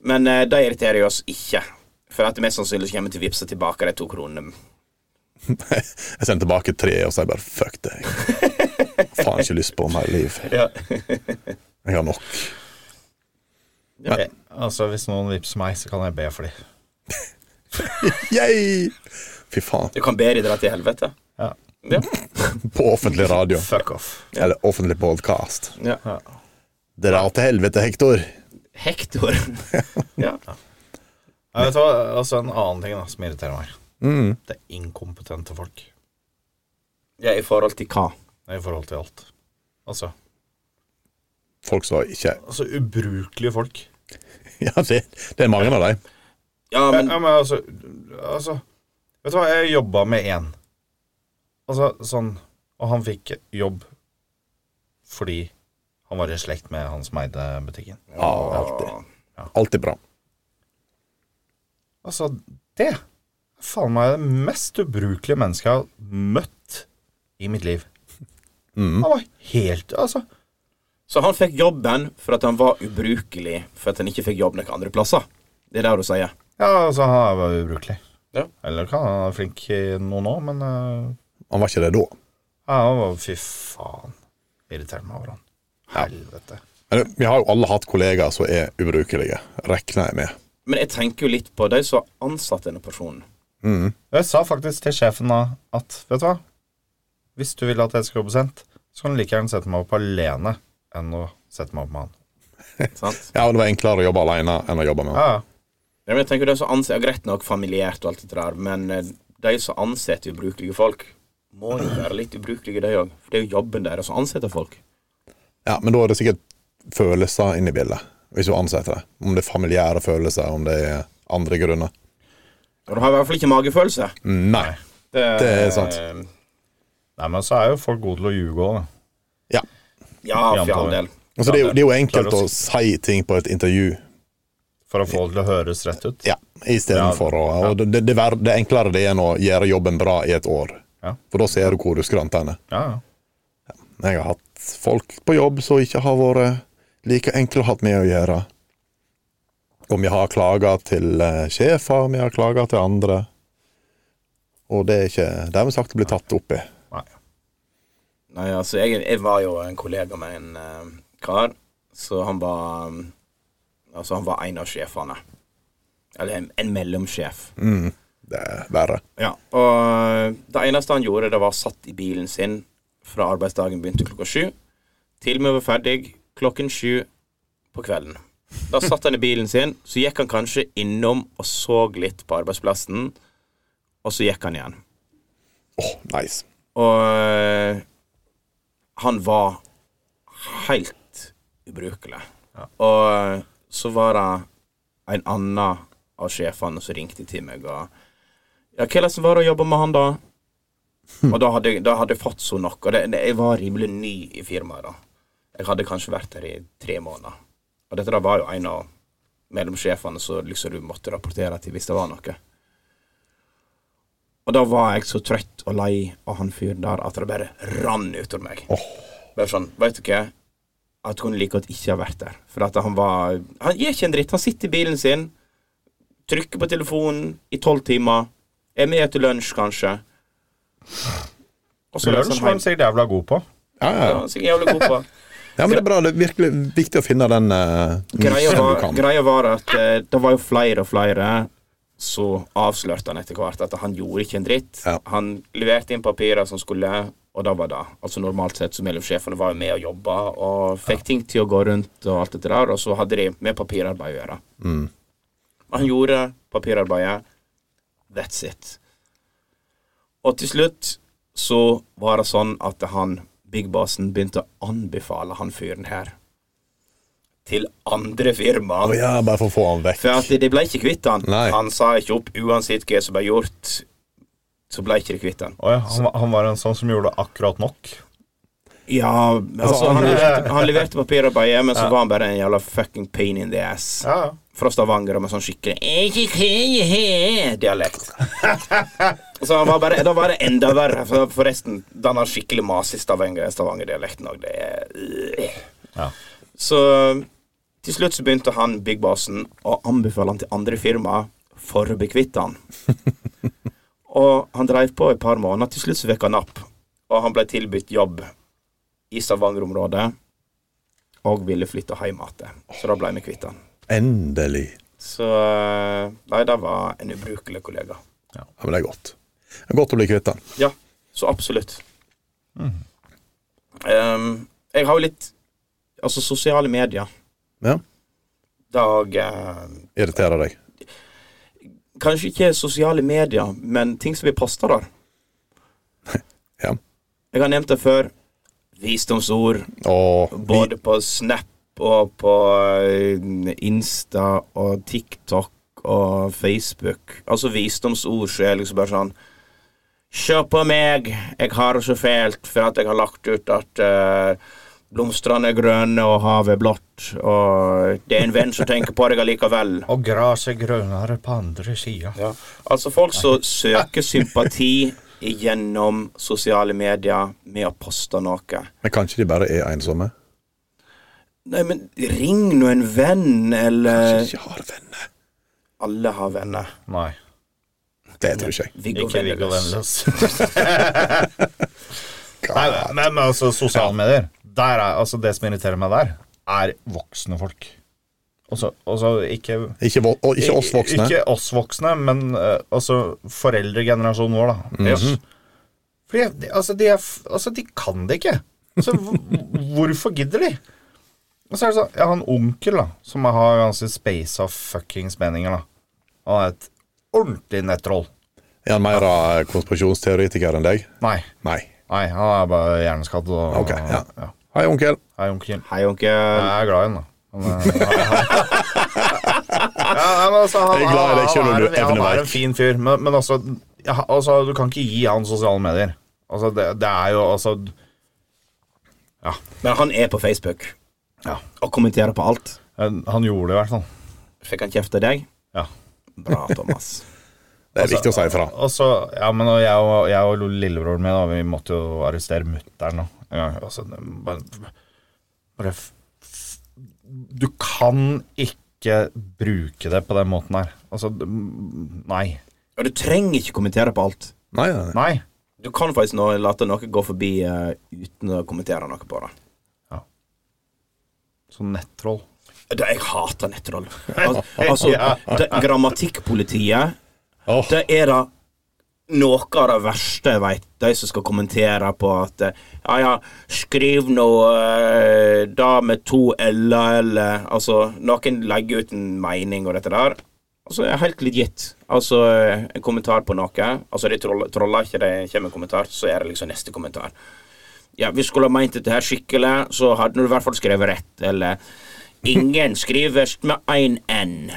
B: Men eh, det irriterer jo oss ikke. For at det mest sannsynlig så kommer vi til å vippse tilbake de to kronene.
C: Jeg sender tilbake tre, og så er jeg bare fuck deg. Faen ikke lyst på mer liv.
B: Ja.
C: Jeg har nok.
E: Ja. Altså, hvis noen vippser meg, så kan jeg be for dem.
C: Yay! Fy faen.
B: Du kan bedre dra til helvete.
E: Ja.
B: Ja.
C: På offentlig radio.
E: Fuck off.
C: Eller offentlig podkast.
B: ja.
C: Dra til helvete, Hector.
B: Hektor. Ja.
E: Ja, vet du hva? Altså, en annen ting da, som irriterer meg. Det er inkompetente folk
B: ja, i forhold til hva?
E: i forhold til alt. Altså
C: folk som ikke
E: Altså, ubrukelige folk.
C: Ja, det, det er mange av dem.
B: Ja,
E: Ja,
B: men
E: men altså, altså Vet du hva, jeg jobba med én. Altså sånn Og han fikk jobb fordi han var i slekt med han som eide butikken.
C: Ja, alltid. Alltid bra.
E: Altså, det er faen meg det mest ubrukelige mennesket jeg har møtt i mitt liv.
B: Mm.
E: Han var helt Altså,
B: Så han fikk jobben for at han var ubrukelig for at han ikke fikk jobb noen andre plasser. Det er det du sier.
E: ja, altså han var ubrukelig.
B: Ja.
E: Eller kan han være flink i noe nå, men eh,
C: Han var ikke det da.
E: ja, han var Fy faen. Irriterte meg over han. Helvete.
C: Men vi har jo alle hatt kollegaer som er ubrukelige, regner jeg med.
B: Men jeg tenker jo litt på de som har ansatt denne personen.
E: Jeg sa faktisk til sjefen da at Vet du hva? Hvis du vil at jeg skal jobbe sent, så kan du like gjerne sette meg opp alene enn å sette meg opp med han.
B: Sant?
C: Ja, og det var enklere å jobbe alene enn å jobbe med han.
E: Ja, ja.
B: Ja, men jeg tenker de som anser, Greit nok familiært og alt det der, men eh, de som ansetter ubrukelige folk, må jo være litt ubrukelige, de òg. For det er jo jobben deres å ansette folk.
C: Ja, men da er det sikkert følelser inne i bildet, hvis du ansetter det. Om det er familiære følelser, om det er andre grunner.
B: Og du har i hvert fall ikke magefølelse.
C: Nei.
B: Det,
C: Det er sant.
B: eh,
E: Nei, men så er jo folk gode til å ljuge òg, da.
C: Ja.
B: Ja, for all del.
C: Altså, det, er jo, det er jo enkelt å
E: Klarer å
C: si ting på et intervju
E: For å få det til å høres rett ut.
C: ja, istedenfor å og det, det, ver- det enklere det er enn å gjøre jobben bra i et år.
E: Ja.
C: For da ser du hvor du skranter henne.
E: Ja, ja.
C: Jeg har hatt folk på jobb som ikke har vært like enkle å ha med å gjøre. Og vi har klaga til eh, sjefer, vi har klaga til andre. Og det er ikke dermed sagt å bli tatt opp i.
E: Nei.
B: Nei, altså, jeg, jeg var jo en kollega med en eh, kar, så han var mm, Altså, han var en av sjefene. Eller en, en mellomsjef.
C: Det er verre.
B: Ja, og eh, det eneste han gjorde, det var satt i bilen sin fra arbeidsdagen begynte klokka sju, til vi var ferdig klokken sju på kvelden. Da satt han i bilen sin, så gikk han kanskje innom og så litt på arbeidsplassen, og så gikk han igjen.
C: Åh, nice.
B: Og eh, han var helt ubrukelig. Og eh, så var det en annen av sjefene som ringte til meg og Ja, hvordan var det å jobbe med han, da? Og da hadde, jeg- da hadde jeg fått så nok. Og det, det, jeg var rimelig ny i firmaet da. Jeg hadde kanskje vært her i tre måneder. Og dette da var jo en av mellomsjefene som liksom du måtte rapportere til hvis det var noe. Og da var jeg så trøtt og lei av han fyren der at det bare rann ut av meg. Bare sånn, vet du hva? At hun like godt ikke har vært der. For at han var Han gjør ikke en dritt. Han sitter i bilen sin, trykker på telefonen i tolv timer, er med til lunsj, kanskje. Og
E: Så sånn
B: reiser
E: lunsj var de sikkert jævla gode på.
C: Ja, ja,
B: sånn Ja,
C: ja.
B: så jeg er jævlig god på.
C: ja, men det er bra. Det er virkelig viktig å finne den uh,
B: Greia
C: du
B: var,
C: kan.
B: greia var at eh, det var jo flere og flere Så avslørte han etter hvert at han gjorde ikke en dritt.
C: Ja.
B: Han leverte inn papirer som skulle, og det var det. Altså Normalt sett så mellomsjefene var jo med og jobba og fikk ting til å gå rundt og alt dette der, og så hadde de med papirarbeid å gjøre.
C: Mm.
B: Og Han gjorde papirarbeidet. That's it. Og til slutt så var det sånn at han Big Bossen begynte å anbefale han fyren her til andre firma.
C: Å ja, bare for å få han vekk.
B: For at de ble ikke kvitt han.
C: Nei.
B: Han sa ikke opp uansett hva som ble gjort. Så ble ikke de kvitt han.
E: Å ja, han, var- han var en sånn som gjorde akkurat nok.
B: Ja, altså, han, leverte, han leverte papirarbeidet, men så var han bare en jævla fucking pain in the ass.
E: Ja, ja.
B: Fra Stavanger og med sånn skikkelig «Ikke kje he», dialekt. Så han var bare, da var det enda verre. For forresten, den har skikkelig masig Stavanger- Stavanger-dialekten òg. Det er øh.
E: Ja.
B: Så til slutt så begynte han, Big Bossen, å anbefale han til andre firma for å bli kvitt han. Og han dreiv på et par måneder. Til slutt så fikk han napp, og han ble tilbudt jobb i Stavanger-området. Og ville flytte hjem igjen. Så da ble vi kvitt han.
C: Endelig.
B: Så eh, Nei, det var en ubrukelig kollega.
C: Ja, men det er godt. Det er godt å bli kvitt den.
B: Ja, så absolutt. Ehm, jeg har jo litt Altså, sosiale medier
C: Ja.
B: Dag eh,
C: Irriterer deg.
B: Kanskje ikke sosiale medier, men ting som blir posta der.
C: Ja.
B: Jeg har nevnt det før. Visdomsord,
C: Og vi,
B: både på Snap og på eh, Insta og TikTok og Facebook. Altså visdomsord så er jeg liksom bare sånn Kjør på meg, jeg har det så fælt for at jeg har lagt ut at eh, blomstene er grønne og havet er blått, og det er en venn som tenker på deg allikevel.
E: Og gresset grønnere på andre sida.
B: Ja. Altså folk som søker sympati gjennom sosiale medier med å poste noe.
C: Men kanskje de bare er ensomme?
B: Nei, men ring nå en venn, eller
C: Ikke har venner.
B: Alle har venner.
E: Nei,
C: Det tror ikke jeg.
B: Viggo
E: ikke Viggo
B: Vendeløs.
E: Vennløs. Nei, men, men altså, sosiale medier der er, altså, Det som irriterer meg der, er voksne folk. Altså, altså ikke
C: Ikke, vo- og ikke oss voksne.
E: Ikke oss voksne, men eh, altså foreldregenerasjonen vår, da.
C: Mhm.
E: Yes. Fordi, de- altså, de er, f- altså, de kan det ikke. Altså, hvor- hvorfor gidder de? Og så er det sånn, Jeg har en onkel da som har ganske speisa fuckings meninger. da Han er et ordentlig nettroll.
C: Er han mer av konspirasjonsteoretiker enn deg?
E: Nei,
C: Nei.
E: nei, han er bare hjerneskadd. Og,
C: Ok, Ah, ja. Hei, onkel.
E: Hei, onkel.
B: Hei, onkel.
E: Jeg er glad i han, da. Han er- Ja, men altså, han,
C: Jeg er glad i deg,
E: han-
C: selv om
E: han
C: du
E: er en- Han er
C: evneverk.
E: en fin fyr, men, men altså, ja, altså Du kan ikke gi han sosiale medier. Altså, det, det er jo altså Ja.
B: Men han er på Facebook
E: Ja.
B: og kommenterer på alt.
E: Han gjorde det, i hvert fall.
B: Fikk han kjeft av deg?
E: Ja.
B: Bra, Thomas.
C: Det er viktig å si ifra.
E: Og så, ja, men og jeg, og, jeg og lillebroren min da, vi måtte jo arrestere mutter'n. en gang. Altså, det- bare, bare f- f- Du kan ikke bruke det på den måten her. Altså, det- nei.
B: Og du trenger ikke kommentere på alt.
C: Nei, nei. nei.
E: Nei.
B: Du kan faktisk nå la noe gå forbi eh, uten å kommentere noe på det.
E: Så nettroll.
B: Det, jeg hater nettroll. Al altså,
E: Ja.
B: det, grammatikkpolitiet
C: Åh.
B: Det er da noe av det verste jeg veit. De som skal kommentere på at eh, Ja, ja, skriv nå eh, det med to l-er, eller Altså, noen legger ut en mening og dette der. Altså, jeg er helt legit. Altså, eh, en kommentar på noe. Altså, de troller, troller ikke, det kommer en kommentar, så er det liksom neste kommentar. Ja, vi skulle ha meint dette her skikkelig, så hadde du i hvert fall skrevet rett, eller Ingen skrives med én n.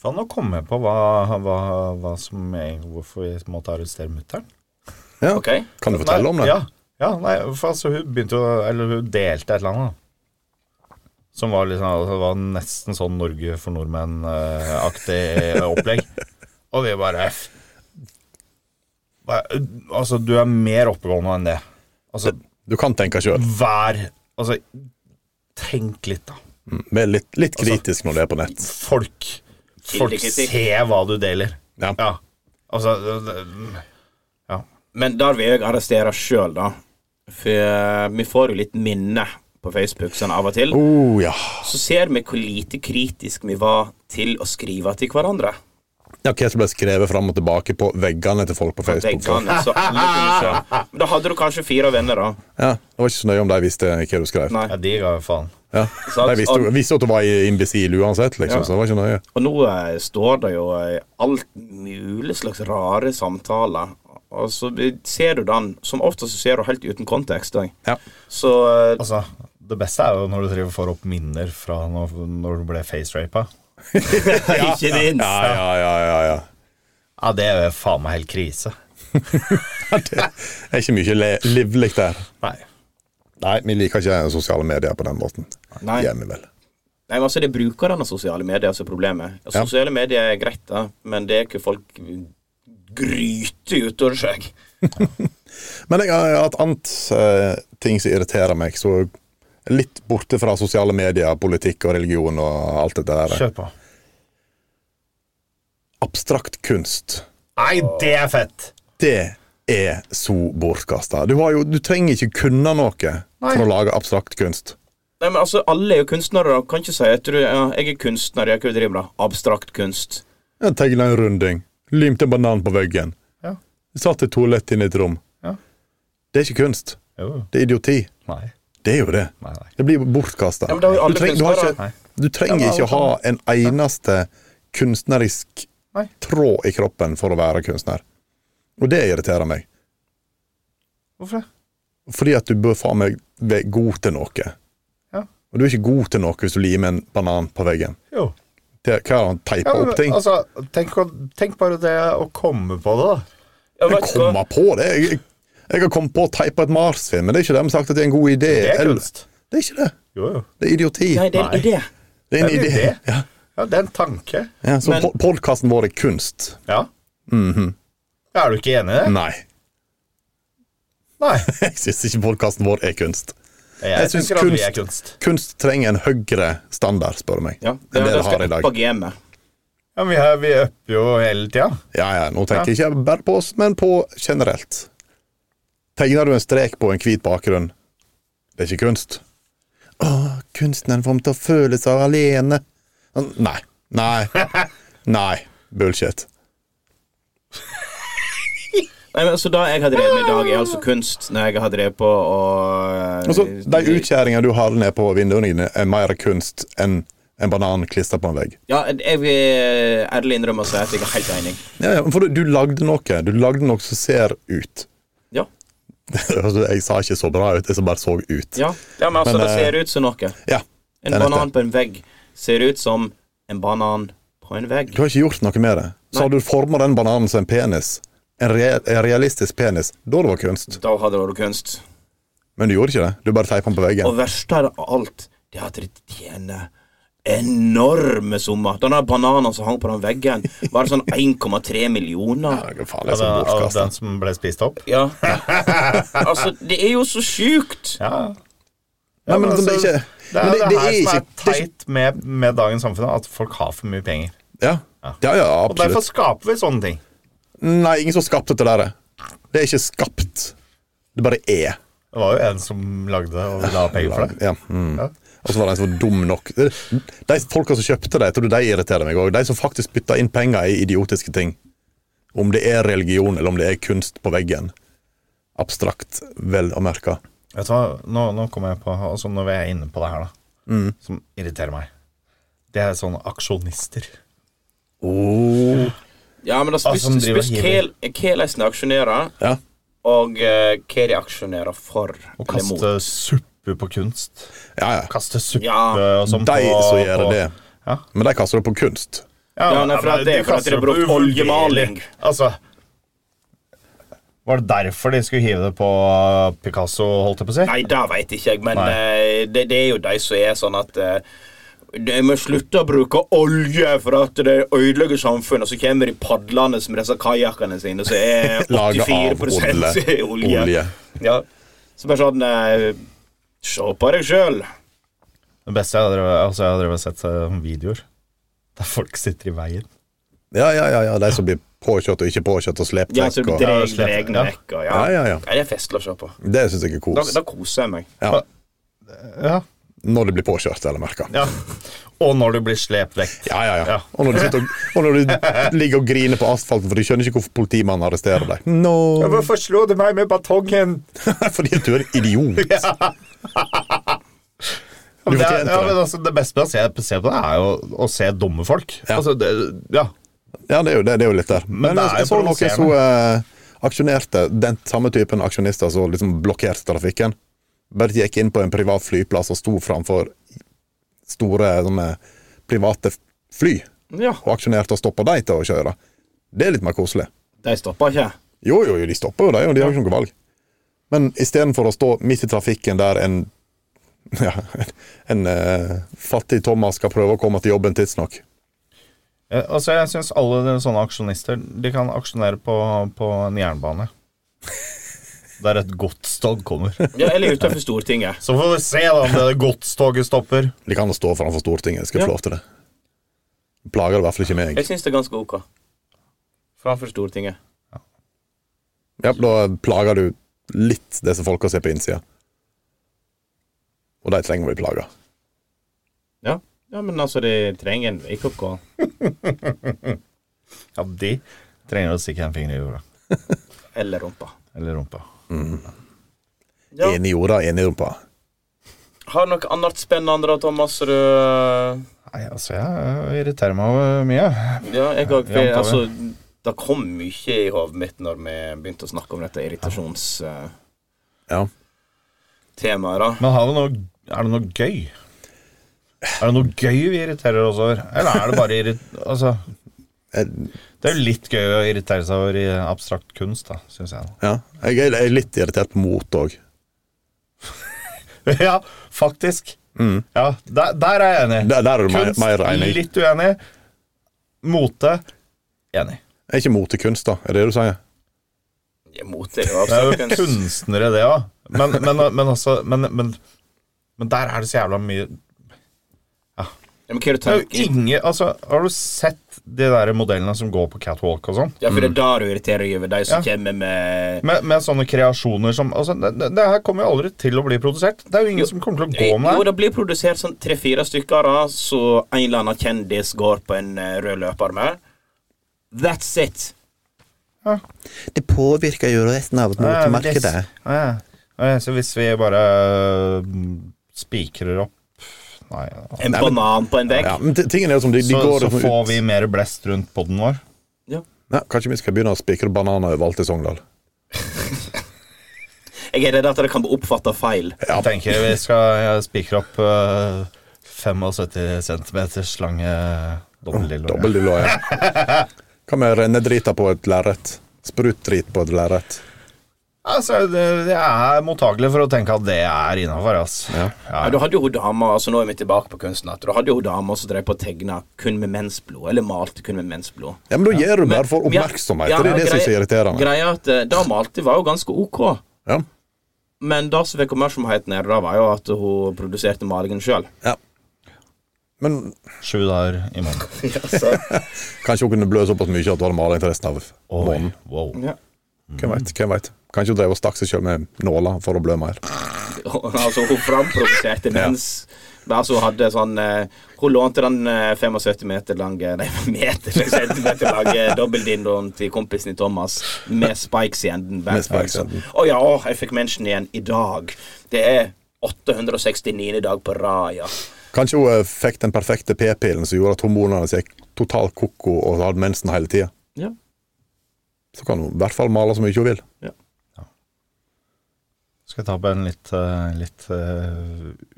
E: Faen, nå kom jeg på hva, hva, hva som er, hvorfor vi måtte arrestere mutter'n.
C: Ja.
B: Ok?
C: Kan du fortelle om det?
E: Ja, ja nei, for altså, hun begynte å Eller hun delte et eller annet. da. Som var, liksom, altså, det var nesten sånn Norge for nordmenn-aktig eh, opplegg. Og vi bare f- bare, Altså, du er mer oppegående enn det. Altså,
C: Du kan tenke sjøl.
E: vær Altså, tenk litt, da.
C: Mm, Vær litt, litt kritisk når du er på nett.
E: Folk Folk
B: Kildekritikk.
E: ser hva du deler.
C: Ja.
E: Ja. Altså det- det- Ja.
B: Men der vil jeg arrestere sjøl, da. For eh, vi får jo litt minne på Facebook sånn av og til.
C: Oh, ja.
B: Så ser vi hvor lite kritisk vi var til å skrive til hverandre.
C: ja. Hva som ble skrevet fram og tilbake på veggene til folk på Facebook?
B: Veggene, så alle kunne se. Men Da hadde du kanskje fire venner, da.
C: Ja, Det var ikke så nøye om de visste hva du skrev.
B: Nei.
E: ja, de ga jo faen.
C: Ja.
B: Sant,
C: De visste,
B: og-
C: visste at du var imbisil uansett, liksom, så det var ikke nøye.
B: Og nå eh, står det jo eh, alt mulig slags rare samtaler. Og så ser du den. Som oftest så ser du helt uten kontekst. da.
C: Ja.
B: Så eh,
E: Altså, det beste er jo når du driver og får opp minner fra når, når du ble facerapa.
B: ikke minst.
C: Ja, ja, ja, ja, ja.
E: Ja, det er jo faen meg helt krise.
C: Det er ikke mye le livlig der.
E: Nei.
C: Nei, vi liker ikke sosiale medier på den måten.
B: Nei.
C: Gjør vi vel.
B: Nei, men altså Det er brukerne av sosiale medier som er problemet. Ja. Sosiale medier er greit, da, men det er ikke folk gryter utover seg.
C: Men jeg har hatt annet eh, ting som irriterer meg, så litt borte fra sosiale medier, politikk og religion og alt dette der.
E: Kjør på.
C: Abstrakt kunst.
E: Nei, det er fett!
C: Det er så bortkasta. Du, har jo- du trenger ikke kunne noe for å lage abstrakt kunst.
B: Nei, men altså, Alle er jo kunstnere. da. Kan ikke si at du ja, jeg er kunstner. Jeg kan drive med abstrakt kunst.
C: Jeg tegna en runding, limte en banan på veggen,
E: Ja.
C: satt et toalett inne i et rom.
E: Ja.
C: Det er ikke kunst.
E: Jo.
C: Det er idioti.
E: Nei.
C: Det er jo det.
E: Nei, nei.
C: Det blir bortkasta.
B: Ja, men det har jo alle
C: du, treng, du, har
B: kunstnere.
C: ikke- du trenger ikke ha en eneste kunstnerisk
E: Nei.
C: tråd i kroppen for å være kunstner. Og det irriterer meg.
E: Hvorfor det?
C: Fordi at du bør faen meg være god til noe.
E: Ja.
C: Og du er ikke god til noe hvis du limer en banan på veggen.
E: Jo.
C: Til, hva har han teipa
E: Ja, men,
C: opp ting?
E: altså, tenk, å- tenk bare det å komme på det, da.
D: Ja,
C: Jeg
D: vet du hva?
C: kommer på det. Jeg, jeg, jeg har kommet på å teipe et marsvin, men det er ikke dermed sagt at det er en god idé.
E: Det er
C: eller-
E: kunst.
C: det er ikke det.
E: Jo, jo.
C: Det er idioti.
B: Nei, det er en idé.
C: det er en
E: det er
C: idé.
E: en idé.
C: Ja.
E: Ja, det er en tanke.
C: Ja, så
B: Men-
C: men... podkasten vår er kunst.
E: Ja. Mhm. Er du ikke enig i det?
C: Nei.
E: Nei.
C: Jeg syns ikke podkasten vår er kunst.
E: Mm. Jeg,
C: Jeg syns
E: tenker at vi er
C: kunst-
E: kunst.
C: Kunst trenger en høyere standard, spør du meg.
B: Ja,
C: enn det
B: det
C: det har i
B: skal opp
C: dag.
B: av gamet.
E: Ja, men vi, er, vi øpper jo hele tida.
C: Ja, ja, nå tenker jeg ikke bare på oss, men på generelt. Tegner du en strek på en hvit bakgrunn, det er ikke kunst. Å, kunstneren får meg til å føle seg alene. Nei. Nei. Nei. Bullshit.
B: Nei, men, så da jeg har drevet med i dag, er altså kunst når jeg har drevet på å eh,
C: Altså, de utskjæringene du har ned på vinduene dine, er mer kunst enn en banan klistra på en vegg.
B: Ja, jeg vil ærlig innrømme å si at jeg er helt enig.
C: Ja, ja, for du, du lagde noe. Du lagde noe som ser ut.
B: Ja.
C: Altså, jeg sa ikke så bra ut, jeg sa bare så ut.
B: ja. ja men altså,
C: Men,
B: det
C: eh,
B: ser ut som noe.
C: Ja.
B: En
C: det er nettopp.
B: banan på en vegg ser ut som en banan på en vegg.
C: Du har ikke gjort noe med det. Så har du forma den bananen som en penis. En, re en realistisk penis. Da det var kunst.
B: Da hadde det vært kunst.
C: Men du gjorde ikke det. Du bare teipa den på veggen.
B: Og verstere av alt, det er at de tjener enorme summer. Den der bananen som hang på den veggen, var sånn 1,3 millioner.
C: Hva faen er
E: Ja,
C: det som
E: den, av
C: bortkastet?
E: den som ble spist opp.
B: Ja. altså, det er jo så sjukt.
E: Ja. altså,
C: Nei, men liksom, det er ikke
E: Det er
C: men
E: det,
C: det, det
E: her
C: er ikke
E: som er teit med, med dagens samfunn, at folk har for mye penger.
C: Ja, ja, ja
E: Og derfor
C: absolutt.
E: skaper vi sånne ting.
C: Nei, ingen som skapte det der. Det er ikke skapt. Det bare er.
E: Det var jo en som lagde det og ville ha penger for det.
C: Ja. Mm.
E: Ja.
C: Og så var det en som var dum nok. De folka som kjøpte det, jeg tror de irriterer meg òg. De som faktisk bytta inn penger i idiotiske ting. Om det er religion, eller om det er kunst på veggen. Abstrakt, vel å merke.
E: Vet du hva, nå, nå kommer jeg på altså Når vi er inne på det her, da,
C: Mm.
E: som irriterer meg Det er sånne aksjonister.
B: Oh. Ja, men det spørs
E: Altså, de driver
B: spørs
E: og
B: hva- hvordan de aksjonerer,
C: Ja.
B: og eh, hva de aksjonerer for
E: Å
B: eller mot.
E: kaste suppe på kunst.
C: Ja, ja.
E: Kaste suppe
B: Ja,
E: og sånn
C: De
E: på
C: som gjør
E: på-
C: det.
E: Ja.
C: Men de kaster det på kunst.
B: Ja, nei, for
E: men
B: at det er
E: de
B: for at
E: kaster
B: dere
E: jo på
B: brukte
E: uvurderlig.
B: oljemaling.
E: Altså Var det derfor de skulle hive det på uh, Picasso, holdt jeg på å si?
B: Nei, det veit ikke jeg, men
E: Nei.
B: eh, det, det er jo de som er sånn at eh, de må slutte å bruke olje for at det ødelegger samfunnet. Og så kommer de padlende med disse kajakkene sine, som er
C: Laget av
B: 84
C: olje.
B: olje.
C: Olje.
B: Ja. Så bare sånn eh, Se på deg sjøl.
E: Det beste jeg har drevet, altså jeg har drevet og sett eh, videoer der folk sitter i veien.
C: Ja, ja, ja, ja. De som blir påkjørt og ikke påkjørt og slept
B: Ja, så
C: vekk. Og...
E: dre-
B: dreg
E: slett,
B: dregen
E: ja.
B: vekk. og Ja.
C: Ja, ja, ja.
B: Nei, det er festlig å se på.
C: Det syns jeg er
B: Da,
C: kos.
B: da koser jeg meg.
C: Ja.
E: Ja.
C: Når de blir påkjørt, eller merka.
E: ja. Og når du blir slept vekk.
C: Ja, ja, ja.
E: Ja.
C: Og når du, sitter og, og når du ligger og griner på asfalten, for du skjønner ikke hvorfor politimannen arresterer deg. No.
E: Hvorfor slo du meg med batongen?
C: Fordi at du er en idiot.
E: Ja,
C: Du
E: men det,
C: fortjente
E: er- ja,
C: det.
E: men altså, det beste med å se, se på det, er jo å se dumme folk.
C: Ja.
E: Altså, det, ja.
C: Ja, det er jo, det, det er jo litt der. Men,
E: det er
C: jeg, jeg
E: jo
C: så noen som eh, aksjonerte den samme typen aksjonister som liksom blokkerte trafikken. Bare gikk inn på en privat flyplass og sto framfor store sånne, private fly
B: Ja,
C: og aksjonerte og stoppa de til å kjøre. Det er litt mer koselig.
B: De stopper ikke.
C: Jo, jo, jo, de stopper jo det, og de har ikke noe valg. Men istedenfor å stå midt i trafikken der en ja, en eh, fattig Thomas skal prøve å komme til jobben tidsnok.
E: Eh, Altså, jeg syns alle de sånne aksjonister De kan aksjonere på, på en jernbane. Der et godstog kommer.
B: Ja, eller utenfor Stortinget.
E: Så får vi se da om det godstoget stopper.
C: De kan jo stå framfor Stortinget, jeg skal
B: Ja.
C: få lov til det. Plager det i hvert fall ikke meg.
B: Jeg syns det er ganske ok. Framfor Stortinget.
C: Ja, da plager du litt disse folka som er på innsida. Og de trenger å bli plaga.
B: Ja. ja, men altså, de trenger en wake-up call.
E: Ja, de trenger å stikke en finger i jorda.
B: Eller rumpa.
E: Eller rumpa.
B: Ja.
C: Enig i jorda, enig i rumpa.
B: Har du noe annet spennende da, Thomas? som eh, du-
E: Nei, altså, jeg irriterer meg over mye.
B: Ja, jeg har
E: Ja, jevnt over.
B: Altså, det kom mye i hodet mitt når vi begynte å snakke om dette irritasjonstemaet,
C: Ja.
B: da.
E: Men har vi noe, er det noe gøy? Er det noe gøy vi irriterer oss over? Eller er det bare irrit... Altså,
C: Jeg,
E: det er jo litt gøy å irritere seg over i abstrakt kunst, da, syns jeg.
C: ja. jeg er- jeg er litt irritert på mot òg.
E: ja, faktisk. Ja, der, Mm. der er jeg enig.
C: Der, der er du mer,
E: Kunst,
C: mer enig.
E: litt uenig. Mote, enig.
C: Er ikke mot til kunst, da? Er det det du sier?
B: Jeg er mot det, jo,
E: Det er
B: absolutt.
E: jo kunstnere, det òg. Men, men, men altså men, men, men der er det så jævla mye
B: Ja, men hva er det
E: Det er jo
B: tanken?
E: ingen Altså, har du sett de der modellene som går på catwalk og sånn?
B: Ja, for det er da du irriterer deg over de som kommer med
E: Med, med sånne kreasjoner som altså, det, det- det her kommer jo aldri til å bli produsert. Det er jo ingen som kommer til å gå
B: Jo,
E: med det.
B: det blir produsert sånn tre-fire stykker, da, så en eller annen kjendis går på en eh, rød løper med. That's it.
C: Det påvirker Eh, jo resten av
E: Ja, men det- Eh, Ja, ja. Så hvis vi bare øh, spikrer opp Nei, ja.
B: En banan på en vegg.
C: Ja, men t- tingen er jo som de, de
E: så,
C: går
E: så
C: liksom
E: får
C: ut-
E: vi mer blest rundt poden vår.
C: Ja, Kanskje vi skal begynne å spikre bananer overalt i Sogndal?
B: Jeg er redd at det kan bli oppfatta feil.
C: Ja.
E: Jeg tenker vi skal øh, spikre opp øh, 75 cm lange eh, dobbeltlilloer.
C: Dobbel dillo, ja. Hva med rennedrita på et lerret? Sprutdrit på et lerret.
E: Altså, det- jeg er mottagelig for å tenke at det er innafor, altså.
C: Ja.
B: Ja, du hadde jo hun dama altså nå er vi tilbake på kunsten, at du hadde jo hun dama som drev på å tegne kun med mensblod, eller malte kun med mensblod.
C: Ja, men da gjør du bare for
B: Men- ja,
C: oppmerksomhet.
B: ja,
C: det er det som er så
B: greia-
C: irriterende.
B: Greia er at eh, det hun malte, var jo ganske ok,
C: Ja.
B: men det som fikk oppmerksomheten her, da var jo at hun produserte malingen sjøl.
C: ja. Men
E: Sju dager i måneden.
C: kanskje hun kunne blø såpass mye at hun hadde maling til resten av måneden.
E: Wow.
B: Ja.
E: Mm.
C: Hvem vet, hvem vet. Kanskje hun drev og stakk seg sjøl med nåler for å blø mer.
B: altså, hun framprovoserte mens Altså, hun hadde sånn eh, Hun lånte den eh, 75 meter lange Nei, meter, centimeter lange dobbeldindoen til kompisen i Thomas med spikes i enden.
C: Med spikes i
B: Å
C: enden.
B: ja, å, jeg fikk mensen igjen i dag. Det er 869. dag på rad, ja.
C: Kanskje hun eh, fikk den perfekte p-pillen som gjorde at hormonene gikk total koko og hadde mensen hele tida.
B: Ja.
C: Så kan hun i hvert fall male så mye hun vil.
E: Skal jeg ta på en litt, eh, litt eh,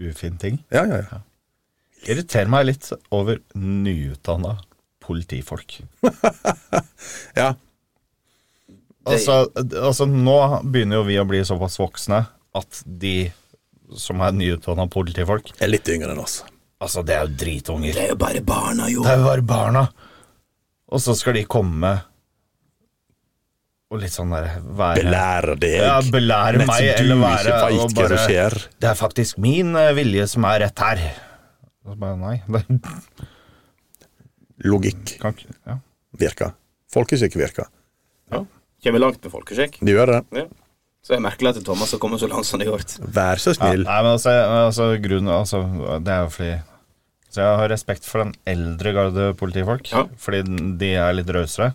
E: ufin ting?
C: Ja, ja, ja.
E: Irriterer meg litt over nyutdanna politifolk.
C: ja.
E: Altså, altså, nå begynner jo vi å bli såpass voksne at de som er nyutdanna politifolk
C: Er litt yngre enn oss.
E: Altså, det er jo dritunger.
B: Det er jo bare barna, jo.
E: Det er jo bare barna. Og så skal de komme og litt sånn derre være
C: Belære deg.
E: Ja, belære
C: mens
E: meg,
C: du
E: eller være
C: ikke
E: og
C: veit hva
E: bare-
C: som skjer.
E: Det er faktisk min eh, vilje som er rett her. Og så bare nei. Det
C: Logikk
E: kan ikke ja.
C: virker. Folkeskikk virker.
B: Kommer langt med folkeskikk.
C: De gjør det.
B: Ja. Så jeg merker at Thomas har kommet så langt som han har gjort.
C: Vær så
E: Ja,
C: snill.
E: nei, men altså, altså, grunnen, altså Det er jo fordi Så jeg har respekt for den eldre garde politifolk,
B: Ja.
E: fordi den- de er litt rausere.